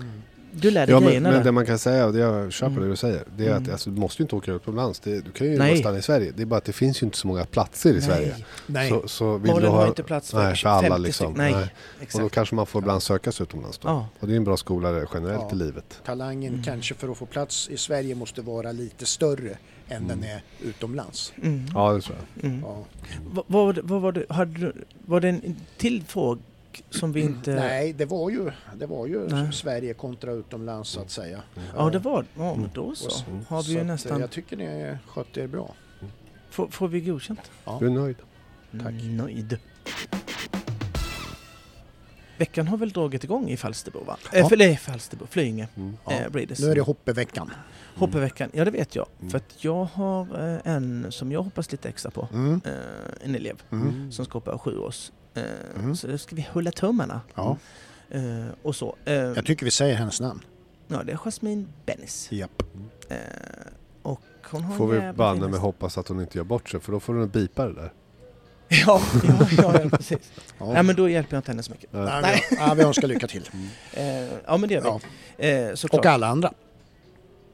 S2: Mm.
S1: du lär dig
S3: Ja, men,
S1: grejerna
S3: men det
S1: där.
S3: man kan säga, och det jag köper
S1: Mm.
S3: det du säger, det är att
S1: Mm.
S3: alltså, du måste ju inte åka utomlands. Det, du kan ju
S1: Nej.
S3: bara stanna i Sverige. Det är bara att det finns ju inte så många platser i Sverige.
S1: Nej,
S2: Nej,
S3: Så, så vill du
S1: Malen har
S3: ha...
S1: inte plats för,
S3: Nej, för alla
S1: 50
S3: liksom.
S1: stycken. Nej,
S3: Nej.
S1: exakt.
S3: Och då kanske man får ibland söka sig utomlands då.
S1: Ja.
S3: Och det är en bra skola generellt
S2: Ja.
S3: i livet.
S2: talangen
S1: Mm.
S2: kanske för att få plats i Sverige måste vara lite större än den är utomlands.
S1: Mm.
S3: Ja, det tror jag.
S1: Mm.
S2: Ja.
S1: Vad, vad, vad var det? Hade du, var det en till fråga som vi
S3: Mm.
S1: inte...
S2: Mm. Nej, det var ju, det var ju
S1: Nej.
S2: Sverige kontra utomlands så att säga.
S1: Ja, det var Ja, men då så.
S3: Mm.
S1: Har vi
S2: Så
S1: ju
S2: att, eh,
S1: nästan...
S2: Jag tycker ni skötte er bra.
S1: Får, får vi godkänt?
S3: Du är nöjd.
S2: Tack.
S1: Nöjd. Veckan har väl dragit igång i Falsterbo va?
S2: Ja.
S1: Eh, för, nej, Falsterbo, Flyinge.
S3: Mm.
S2: Ja.
S1: Eh, Breeders.
S2: Nu är det hoppeveckan.
S1: Hoppeveckan, ja det vet jag.
S3: Mm.
S1: För att jag har eh, en som jag hoppas lite extra på.
S2: Mm.
S1: Eh, en elev
S2: Mm.
S1: som ska hoppa sju års. Eh,
S2: Mm.
S1: Så det ska vi hålla tummarna.
S2: Ja.
S1: Eh, och så. Eh,
S2: Jag tycker vi säger hennes namn.
S1: ja, det är Jasmine Bennis.
S2: Japp.
S1: Eh, och hon eh, har
S3: Får
S1: en
S3: vi
S1: jävla
S3: banne
S1: fin
S3: med
S1: häst.
S3: hoppas att hon inte gör bort sig för då får hon bipa det där.
S1: Ja, ja, ja, ja precis.
S2: Ja.
S1: Nej men då hjälper jag inte henne så mycket.
S3: Nej.
S2: Nej, vi, ja, vi önskar lycka till.
S1: Eh, ja men det gör vi.
S2: Ja.
S1: Eh, såklart.
S2: Och alla andra.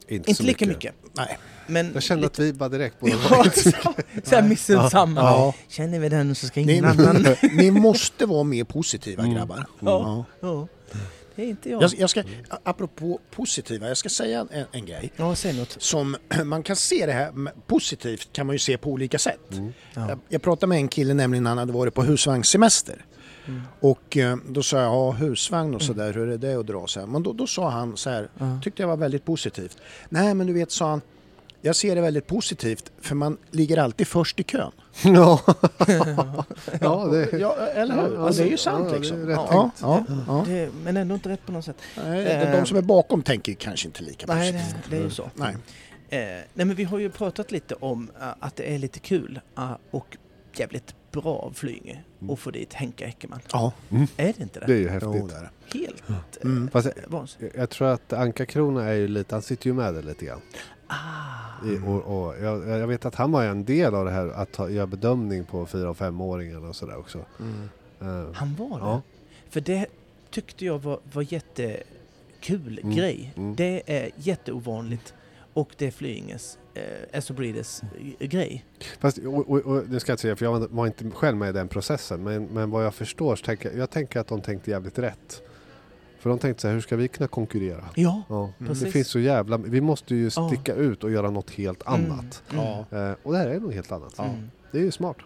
S3: Inte,
S1: Inte
S3: så
S1: lika mycket.
S2: Nej.
S1: Men
S3: Jag kände att vi bara direkt båda
S1: Ja, såhär missunnsamma.
S2: Ja.
S1: Känner vi den så ska
S2: Ni,
S1: ingen annan...
S2: ni måste vara mer positiva
S3: Mm.
S2: grabbar.
S1: Ja. Ja. Det är inte jag.
S2: Jag, jag ska, apropå positiva, jag ska säga en, en grej.
S1: Ja, säg något.
S2: Som man kan se det här med- positivt kan man ju se på olika sätt.
S1: Ja.
S2: Jag, jag pratade med en kille nämligen han hade varit på husvagnssemester. Och eh, då sa jag, ja husvagn och sådär, hur är det att dra? Så här. Men då, då sa han så här,
S1: Ja.
S2: tyckte jag var väldigt positivt. Nej men du vet, sa han, jag ser det väldigt positivt för man ligger alltid först i kön.
S3: Ja. ja, det,
S2: Ja, eller hur?
S3: Ja,
S2: Ja, det är ju
S3: det- ja,
S2: sant
S3: det är
S2: liksom.
S3: rätt
S2: Ja, ja, ja.
S1: Det, men ändå inte rätt på något sätt.
S2: Nej, De som är bakom tänker ju kanske inte lika
S1: Nej,
S2: positivt.
S1: det, det är ju så.
S2: Nej.
S1: Eh, nej, men vi har ju pratat lite om eh, att det är lite kul eh, och jävligt bra av Flyinge att få dit Henka Eckermann.
S2: Ja,
S1: Är det inte det?
S3: det är ju
S2: jo,
S3: häftigt.
S2: det är det.
S1: Helt eh,
S2: Mm.
S3: Fast
S1: vansinnigt.
S3: jag, jag tror att Anka-Krona är ju lite, han sitter ju med där lite grann.
S1: Ah,
S3: I, och, och, jag, jag vet att han var ju en del av det här att ta, göra bedömning på fyra och femåringarna och sådär också.
S2: Mm.
S3: Eh,
S1: Han var det.
S3: Ja.
S1: För det tyckte jag var, var jättekul
S3: Mm.
S1: grej.
S3: Mm.
S1: Det är jätteovanligt. Och det är Flyinges, eh, SO Breeders eh, grej.
S3: Fast, och, och, och, det ska jag inte säga, för jag var inte själv med i den processen. Men, men vad jag förstår så tänker jag, jag tänker att de tänkte jävligt rätt. För de tänkte så här, hur ska vi kunna konkurrera?
S1: Ja,
S3: Ja, Mm, det
S1: Precis.
S3: finns så jävla... Vi måste ju
S1: Ja.
S3: sticka ut och göra något helt
S1: Mm.
S3: annat.
S1: Mm.
S2: Ja.
S3: Eh, och det här är något helt annat.
S1: Mm.
S3: Det är ju smart.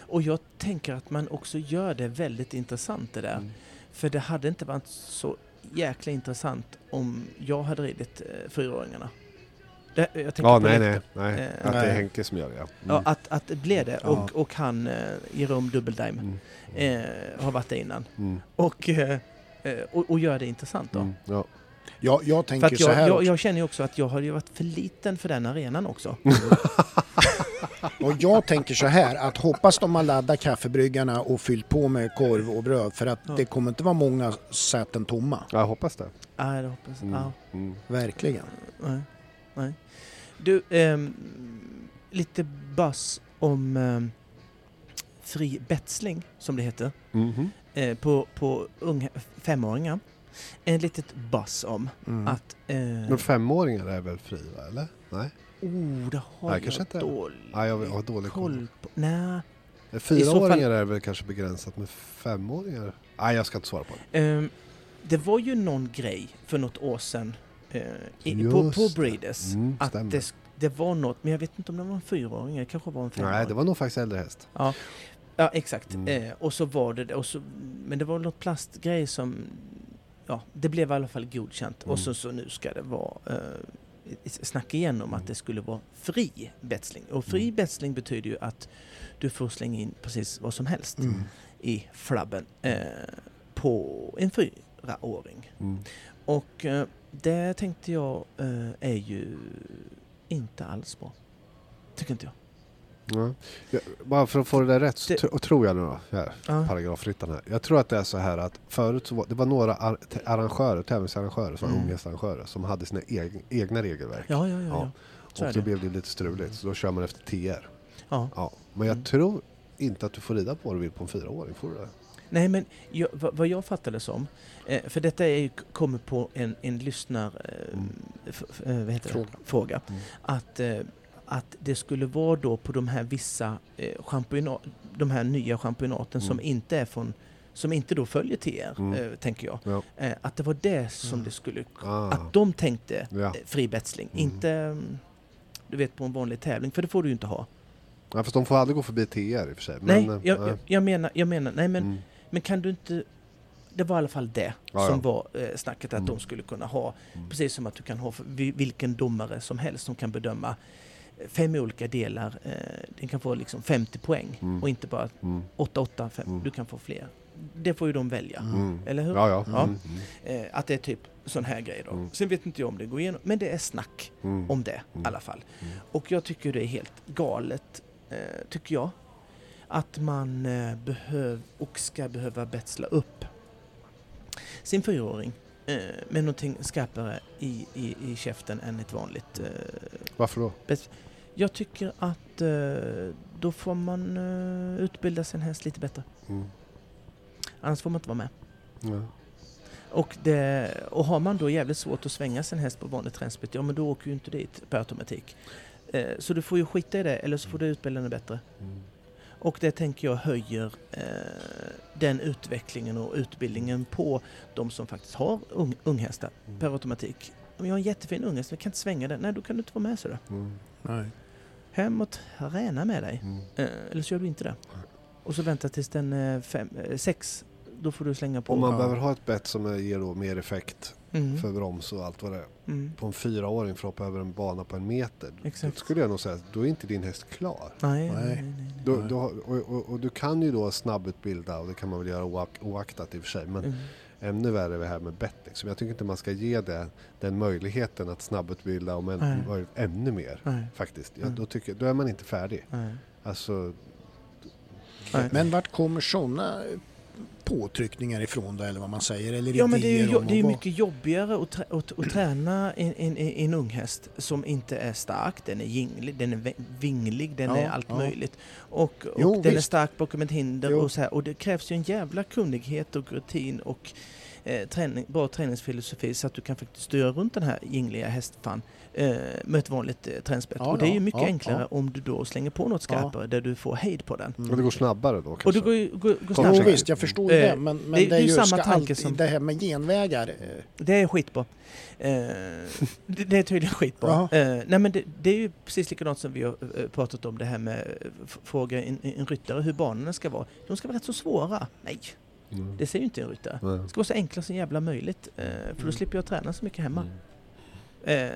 S1: Och jag tänker att man också gör det väldigt intressant det där.
S3: Mm.
S1: För det hade inte varit så jäkla intressant om jag hade ridit eh, fyraåringarna. Det, eh, jag tänker
S3: Ja,
S1: på
S3: nej,
S1: Lecter.
S3: nej, nej.
S1: Eh,
S3: Att det
S2: nej.
S3: är Henke som gör det. ja. Mm.
S1: Ja, ah. att, att det blev det.
S2: Ja.
S1: Och, och han, eh, Jerome Dubbeldime,
S3: Mm.
S1: eh, har varit det innan.
S3: Mm.
S1: Och, eh, eh, och, och gör det intressant då.
S3: Mm. Ja.
S2: Jag, jag
S1: För
S2: tänker
S1: att
S2: så här
S1: jag, jag,
S2: också.
S1: jag känner ju också att jag har ju varit för liten för den arenan också.
S3: Mm.
S2: Och jag tänker så här att hoppas de har laddat kaffebryggarna och fyllt på med korv och bröd för att
S1: Ja.
S2: det kommer inte vara många säten tomma.
S3: Jag hoppas det.
S1: Nej, det hoppas jag.
S3: Mm.
S1: Ja,
S3: Mm.
S2: Verkligen.
S1: nej, nej. Du, ehm, lite buzz om ehm, fri betsling, som det heter,
S3: Mhm.
S1: eh, på, på unga, femåringar. En litet buzz om
S2: Mm.
S1: att... Eh,
S3: Men femåringar är väl fri, va? eller? Nej?
S1: oh, det har
S3: Nej,
S1: jag,
S3: kanske inte.
S1: dålig
S3: Nej, jag har dålig koll.
S1: koll på. Nej,
S3: Fyraåringar är väl kanske begränsat, men femåringar? Nej, jag ska inte svara på det.
S1: Ehm, det var ju någon grej för något år sedan eh, i, på,
S3: Just
S1: på
S3: det.
S1: Breeders.
S3: Mm,
S1: att
S3: stämmer.
S1: det, sk- det var något, men jag vet inte om det var en fyraåring, det kanske var en femåring.
S3: Nej, det var nog faktiskt äldre häst.
S1: Ja, exakt.
S3: Mm.
S1: Eh, och så var det, och så, men det var något plastgrej som, ja, det blev i alla fall godkänt.
S3: Mm.
S1: Och så, så nu ska det vara, eh, snack igen om att det skulle vara fri betsling. Och fri
S3: Mm.
S1: betsling betyder ju att du får slänga in precis vad som helst
S2: Mm.
S1: i flabben eh, på en fyraåring.
S3: Mm.
S1: Och eh, det tänkte jag eh, är ju inte alls bra. Tycker inte jag.
S3: Ja. Ja, bara för att få det där rätt så
S1: Det-
S3: tro, tror jag nu då, här,
S1: Ja.
S3: paragrafryttaren här. Jag tror att det är så här att förut så var det var några ar- t- arrangörer, tävlingsarrangörer, som var
S1: Mm.
S3: unghästarrangörer, som hade sina eg- egna regelverk.
S1: Ja, ja, ja. ja.
S3: Ja,
S1: så är
S3: och då
S1: det.
S3: blev det lite struligt, så då kör man efter TR.
S1: ja.
S3: Ja. Men jag
S1: Mm.
S3: tror inte att du får rida på vad du vill på en fyraåring, får du det?
S1: Nej, men jag, vad, vad jag fattade som, eh, för detta är ju, kommer på en, en lyssnar... Eh,
S3: Mm.
S1: f, f, eh, vad heter
S2: Fråga.
S1: Det? Fråga.
S3: Mm.
S1: Att, eh, att det skulle vara då på de här vissa eh, championat, de här nya championaten som
S3: Mm.
S1: inte är från som inte då följer TR,
S3: Mm.
S1: eh, tänker jag.
S3: Ja.
S1: Eh, att det var det som
S2: Mm.
S1: det skulle...
S3: Ah.
S1: Att de tänkte
S3: Ja.
S1: eh, fri betsling.
S3: Mm.
S1: Inte mm, du vet på en vanlig tävling, för det får du ju inte ha.
S3: ja, fast de får aldrig gå förbi TR i och för sig.
S1: nej,
S3: Men, eh,
S1: jag,
S3: nej.
S1: jag, jag menar, jag menar, nej men,
S3: Mm.
S1: men kan du inte... Det var i alla fall det
S3: Ja,
S1: som
S3: ja.
S1: var eh, snacket att
S3: Mm.
S1: de skulle kunna ha.
S3: Mm.
S1: Precis som att du kan ha för, vi- vilken domare som helst som kan bedöma eh, fem olika delar. Eh, den kan få liksom 50 poäng
S3: Mm.
S1: och inte bara
S3: Mm.
S1: 8, 8, 5.
S3: Mm.
S1: Du kan få fler. Det får ju de välja.
S3: Mm.
S1: Eller hur?
S3: Ja, ja.
S1: Ja.
S3: Mm.
S1: Eh, att det är typ sån här grej då.
S3: Mm.
S1: Sen vet inte jag om det går igenom, men det är snack
S3: Mm.
S1: om det i
S3: Mm.
S1: alla fall.
S3: Mm.
S1: Och jag tycker det är helt galet, eh, tycker jag, att man eh, behöv, och ska behöva betsla upp sin fyraåring eh, med någonting skarpare i, i, i käften än ett vanligt... Eh,
S3: Varför då?
S1: jag tycker att eh, då får man eh, utbilda sin häst lite bättre.
S3: Mm.
S1: Annars får man inte vara med.
S3: Ja.
S1: Och, det, och har man då jävligt svårt att svänga sin häst på vanligt träningsbyte, ja men då åker ju inte dit per automatik. Eh, så du får ju skita i det, eller så får du utbilda den bättre.
S3: Mm.
S1: Och det tänker jag höjer eh, den utvecklingen och utbildningen på de som faktiskt har ung, unghästar
S3: Mm.
S1: per automatik. Om jag har en jättefin unghäst, men jag kan inte svänga den. Nej, då kan du inte vara med så då.
S3: Mm.
S2: Nej.
S1: Hem och träna med dig.
S3: Mm.
S1: Eh, eller så gör du inte det. Och så vänta tills den eh, fem, eh, sex. Då får du slänga på.
S3: Om man
S2: Ja.
S3: behöver ha ett bett som eh, ger då mer effekt
S1: Mm,
S3: för broms och allt vad det är.
S1: mm,
S3: På en fyraåring för att hoppa över en bana på en meter.
S1: Exakt.
S3: Då skulle jag nog säga att då är inte din häst klar.
S1: Nej,
S2: Nej.
S1: nej, nej, nej.
S3: Då,
S2: Nej.
S3: då, har- och, och, och du kan ju då snabbutbilda och det kan man väl göra oak, oaktat i och för sig. Men
S1: Mm.
S3: ännu värre är det här med bett. Liksom. Jag tycker inte man ska ge det, den möjligheten att snabbutbilda om en,
S1: Nej.
S3: möj- ännu mer.
S1: Nej,
S3: Faktiskt. Ja,
S1: Mm.
S3: då, tycker, då är man inte färdig.
S1: nej.
S3: Alltså,
S1: Nej.
S2: Men vart kommer sådana påtryckningar ifrån då eller vad man säger? Eller
S1: Ja men det är
S2: idéer
S1: ju,
S2: om
S1: det är ju
S2: att vara-
S1: mycket jobbigare att, trä, att, att träna en, en, en ung häst som inte är stark, den är jinglig, den är vä- vinglig, den
S2: Ja,
S1: är allt
S2: ja.
S1: möjligt. Och, och
S2: Jo,
S1: den är
S2: visst.
S1: stark bakom ett hinder
S2: Jo.
S1: och så här. Och det krävs ju en jävla kunnighet och rutin och eh, träning, bra träningsfilosofi så att du kan faktiskt styra runt den här jingliga hästfan eh, med ett vanligt eh, tränspett.
S2: Ja,
S1: och det är ju
S2: ja,
S1: mycket
S2: ja,
S1: enklare om du då slänger på något
S2: Ja. Mm.
S1: skarpare där du får hejd på den.
S3: och det går snabbare då kanske.
S1: Och du går, ju- går, går
S2: Jo,
S3: Kortsiktigt.
S1: snabbare.
S2: visst, jag förstår ju
S1: Eh,
S2: det. Men, men
S1: det-
S2: det,
S1: det
S2: är ju ska ju tanke som... Det här med genvägar. eh,
S1: Det är skitbra. Eh, det, det är tydligen skitbra.
S2: Jaha.
S1: Eh, nej men det, det är ju precis likadant som vi har eh, pratat om det här med eh, f- fråga en, en ryttare hur banorna ska vara. De ska vara rätt så svåra. Nej,
S3: Mm.
S1: det säger ju inte en ryttare.
S3: Nej.
S1: Det ska vara så enkla som jävla möjligt. Eh, för då
S2: Mm.
S1: slipper jag träna så mycket hemma.
S3: Mm.
S1: Eh,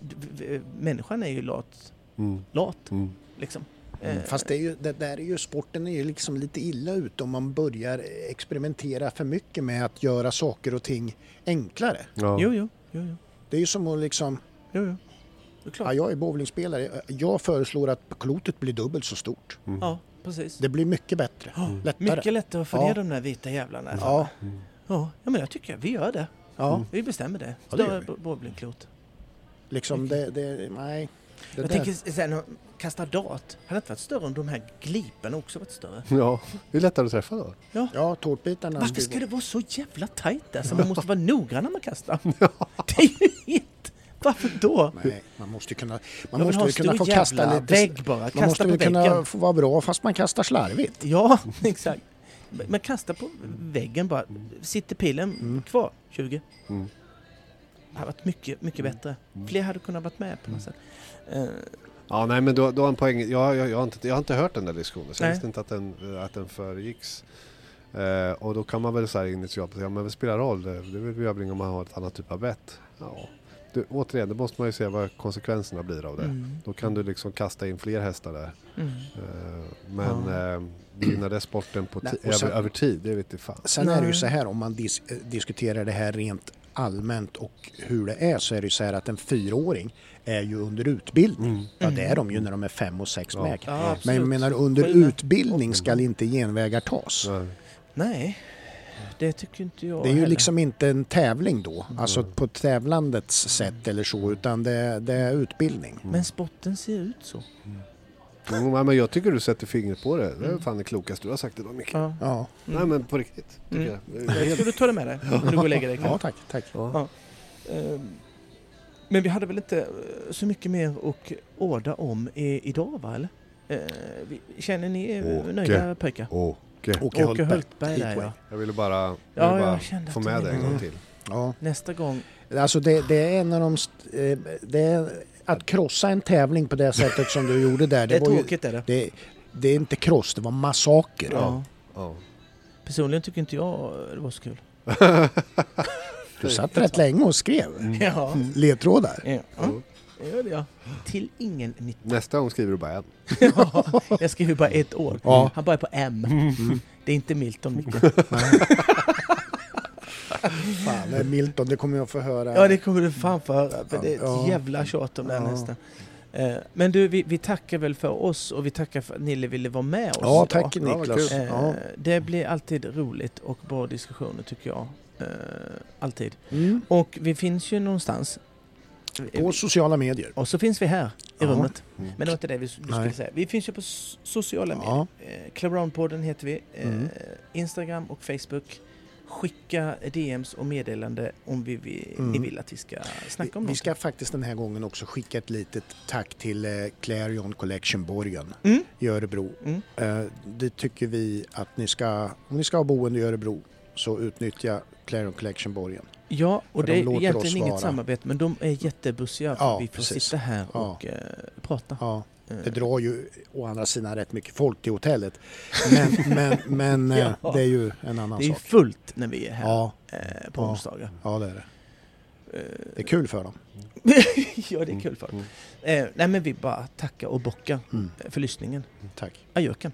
S1: d- v- människan är ju lat,
S3: Mm.
S1: lat
S3: Mm.
S1: liksom.
S2: Mm,
S1: Eh,
S2: Fast det, är ju, det där är ju, sporten är ju liksom lite illa ute om man börjar experimentera för mycket med att göra saker och ting enklare.
S3: Ja.
S1: Jo, jo. jo, jo.
S2: Det är ju som att liksom,
S1: jo, jo. Det är klart.
S2: ja, jag är bowlingspelare, jag föreslår att klotet blir dubbelt så stort.
S3: Mm.
S1: Ja, precis.
S2: Det blir mycket bättre,
S1: Ja,
S2: lättare.
S1: Mycket lättare att få
S2: Ja.
S1: ner de där vita jävlarna.
S2: Ja,
S1: Ja, ja, men jag tycker vi gör det.
S2: ja
S1: Vi bestämmer det.
S2: Ja, det gör
S1: Större
S2: vi.
S1: bo- bowlingklot.
S2: liksom det, det nej. Det
S1: Jag
S2: där-
S1: tänker sen kasta dart. Hade inte varit större om de här gliparna också varit större?
S3: Ja, det är lättare att träffa då.
S2: Ja, tårtbitarna.
S1: Varför
S2: skulle-
S1: ska det vara så jävla tajt alltså? Man måste vara noggrann när man kastar. Det är ju inte... Varför då?
S2: Nej, man måste ju kunna, man
S1: Jag vill
S2: måste
S1: ha
S2: ju
S1: en
S2: kunna få
S1: stor
S2: kasta
S1: jävla
S2: lite...
S1: vägg bara.
S2: Man måste
S1: Kasta på
S2: väl kunna
S1: väggen.
S2: få vara bra fast man kastar slarvigt.
S1: Ja, exakt. Men men kasta på väggen bara. Sitter pilen kvar? 20?
S3: Mm.
S1: Det hade varit mycket,
S2: Mm.
S1: mycket bättre. Fler hade kunnat varit med på något sätt. Eh,
S3: Ja, nej men då, då har en poäng. Jag, jag, jag, har inte, jag har inte hört den där diskussionen så jag
S1: Nej.
S3: visste inte att den, att den föregicks. Eh, och då kan man väl så här initialt säga, men det spelar roll, det det vill vi överlägga om man har ett annat typ av bett. Ja. Du, återigen, då måste man ju se vad konsekvenserna blir av det.
S1: Mm.
S3: Då kan du liksom kasta in fler hästar där.
S1: Mm.
S3: Eh, men eh, gynnar det sporten på
S2: Nej,
S3: ti-
S2: och sen-
S3: över, över tid, det vet inte fan.
S2: Sen är det ju
S1: Nej.
S2: så här om man dis- eh, diskuterar det här rent allmänt och hur det är så är det ju så här att en fyraåring är ju under utbildning.
S1: Mm.
S2: Ja det är de ju när de är fem och sex
S3: Ja.
S2: med.
S1: Ja, absolut.
S2: Men jag menar under
S1: Skillnad.
S2: utbildning ska inte genvägar tas.
S3: Nej.
S1: Nej, det tycker inte jag
S2: Det är ju
S1: heller.
S2: liksom inte en tävling då, alltså på tävlandets sätt eller så, utan det, det är utbildning.
S1: Men sporten ser ut så.
S3: Jo, nej, Mm, men jag tycker du sätter fingret på det. Det är fan det klokaste du har sagt idag Micke.
S1: Ja.
S2: Ja,
S3: Nej men på riktigt. Tycker
S1: Mm.
S3: jag. Det är
S1: Jag
S3: helt-
S1: tror du tar det med dig när du går och lägger dig.
S2: ja tack. tack.
S3: Ja.
S1: Ehm, Men vi hade väl inte eh, så mycket mer att orda om i- idag va? Eller? Eh, vi- Känner ni er
S3: Åke.
S1: nöjda pojkar?
S3: Åke.
S2: Åke
S1: Åke
S2: Hultberg.
S1: Hultberg där ja.
S3: Jag ville bara, jag
S1: Ja,
S3: ville
S1: jag
S3: bara
S1: kände
S3: få
S1: att
S3: med
S1: det
S3: det en
S1: var-
S3: gång till.
S2: Ja.
S1: Nästa gång.
S2: Alltså det, det är en av de... St- eh, det är, att krossa en tävling på det sättet som du gjorde
S1: Det
S2: där, det,
S1: är
S2: var ju,
S1: tråkigt är det.
S2: det, det är inte kross, det var massaker.
S1: Ja.
S3: Ja.
S1: Personligen tycker inte jag det var så kul.
S2: Du satt rätt länge och skrev
S1: Ja.
S2: Mm. ledtrådar.
S1: Ja, det gör jag. Till ingen nytta.
S3: Nästa gång skriver du bara en.
S1: Jag skriver bara ett år.
S2: Ja. Mm.
S1: Han börjar på M. Det är inte Milton Micke.
S2: Fan, det är Milton, det kommer jag få höra.
S1: Ja, det kommer du fan få höra. För det är ett
S2: Ja.
S1: jävla tjat om det här
S2: Ja.
S1: nästan. Eh, Men du, vi, vi tackar väl för oss och vi tackar för att Nille ville vara med oss
S2: Ja,
S1: idag.
S2: tack
S3: Ja, vad
S2: Niklas.
S3: kul.
S1: Eh,
S2: Ja.
S1: Det blir alltid roligt och bra diskussioner tycker jag. Eh, Alltid.
S2: Mm.
S1: Och vi finns ju någonstans. Eh,
S2: På sociala medier.
S1: Och så finns vi här i
S2: Ja.
S1: rummet.
S3: Mm.
S1: Men det var inte det vi s- du skulle
S2: Nej.
S1: säga. Vi finns ju på s- sociala medier.
S2: Ja.
S1: Eh, Clubround-podden heter vi. Eh,
S2: Mm.
S1: Instagram och Facebook. Skicka DMs och meddelande om vi, vi, ni
S2: Mm.
S1: vill att vi ska
S2: Vi,
S1: snacka om
S2: vi
S1: något.
S2: ska faktiskt den här gången också skicka ett litet tack till eh, Clarion Collection Borgen
S1: Mm.
S2: i Örebro.
S1: Mm.
S2: Eh, det tycker vi att ni ska, om ni ska ha boende i Örebro så utnyttja Clarion Collection Borgen.
S1: Ja, och
S2: För
S1: det
S2: de
S1: är
S2: låter oss
S1: egentligen inget
S2: vara.
S1: samarbete, men de är jättebussiga för
S2: Ja,
S1: vi får
S2: precis.
S1: sitta här
S2: Ja.
S1: och eh, prata.
S2: Ja.
S1: Eh,
S2: Det drar ju å andra sidan rätt mycket folk till hotellet. Men, men, men eh,
S1: Ja.
S2: det är ju en annan
S1: det är ju
S2: sak.
S1: fullt när vi är här
S2: Ja,
S1: eh, på
S2: Ja.
S1: onsdagar.
S2: ja, det är det.
S1: Eh,
S2: Det är Mm. kul för dem.
S1: ja, det är kul för
S3: Mm,
S1: dem. Eh, nej, men vi bara tackar och bockar
S2: Mm.
S1: eh, för lyssningen.
S2: Tack.
S1: Adjöken.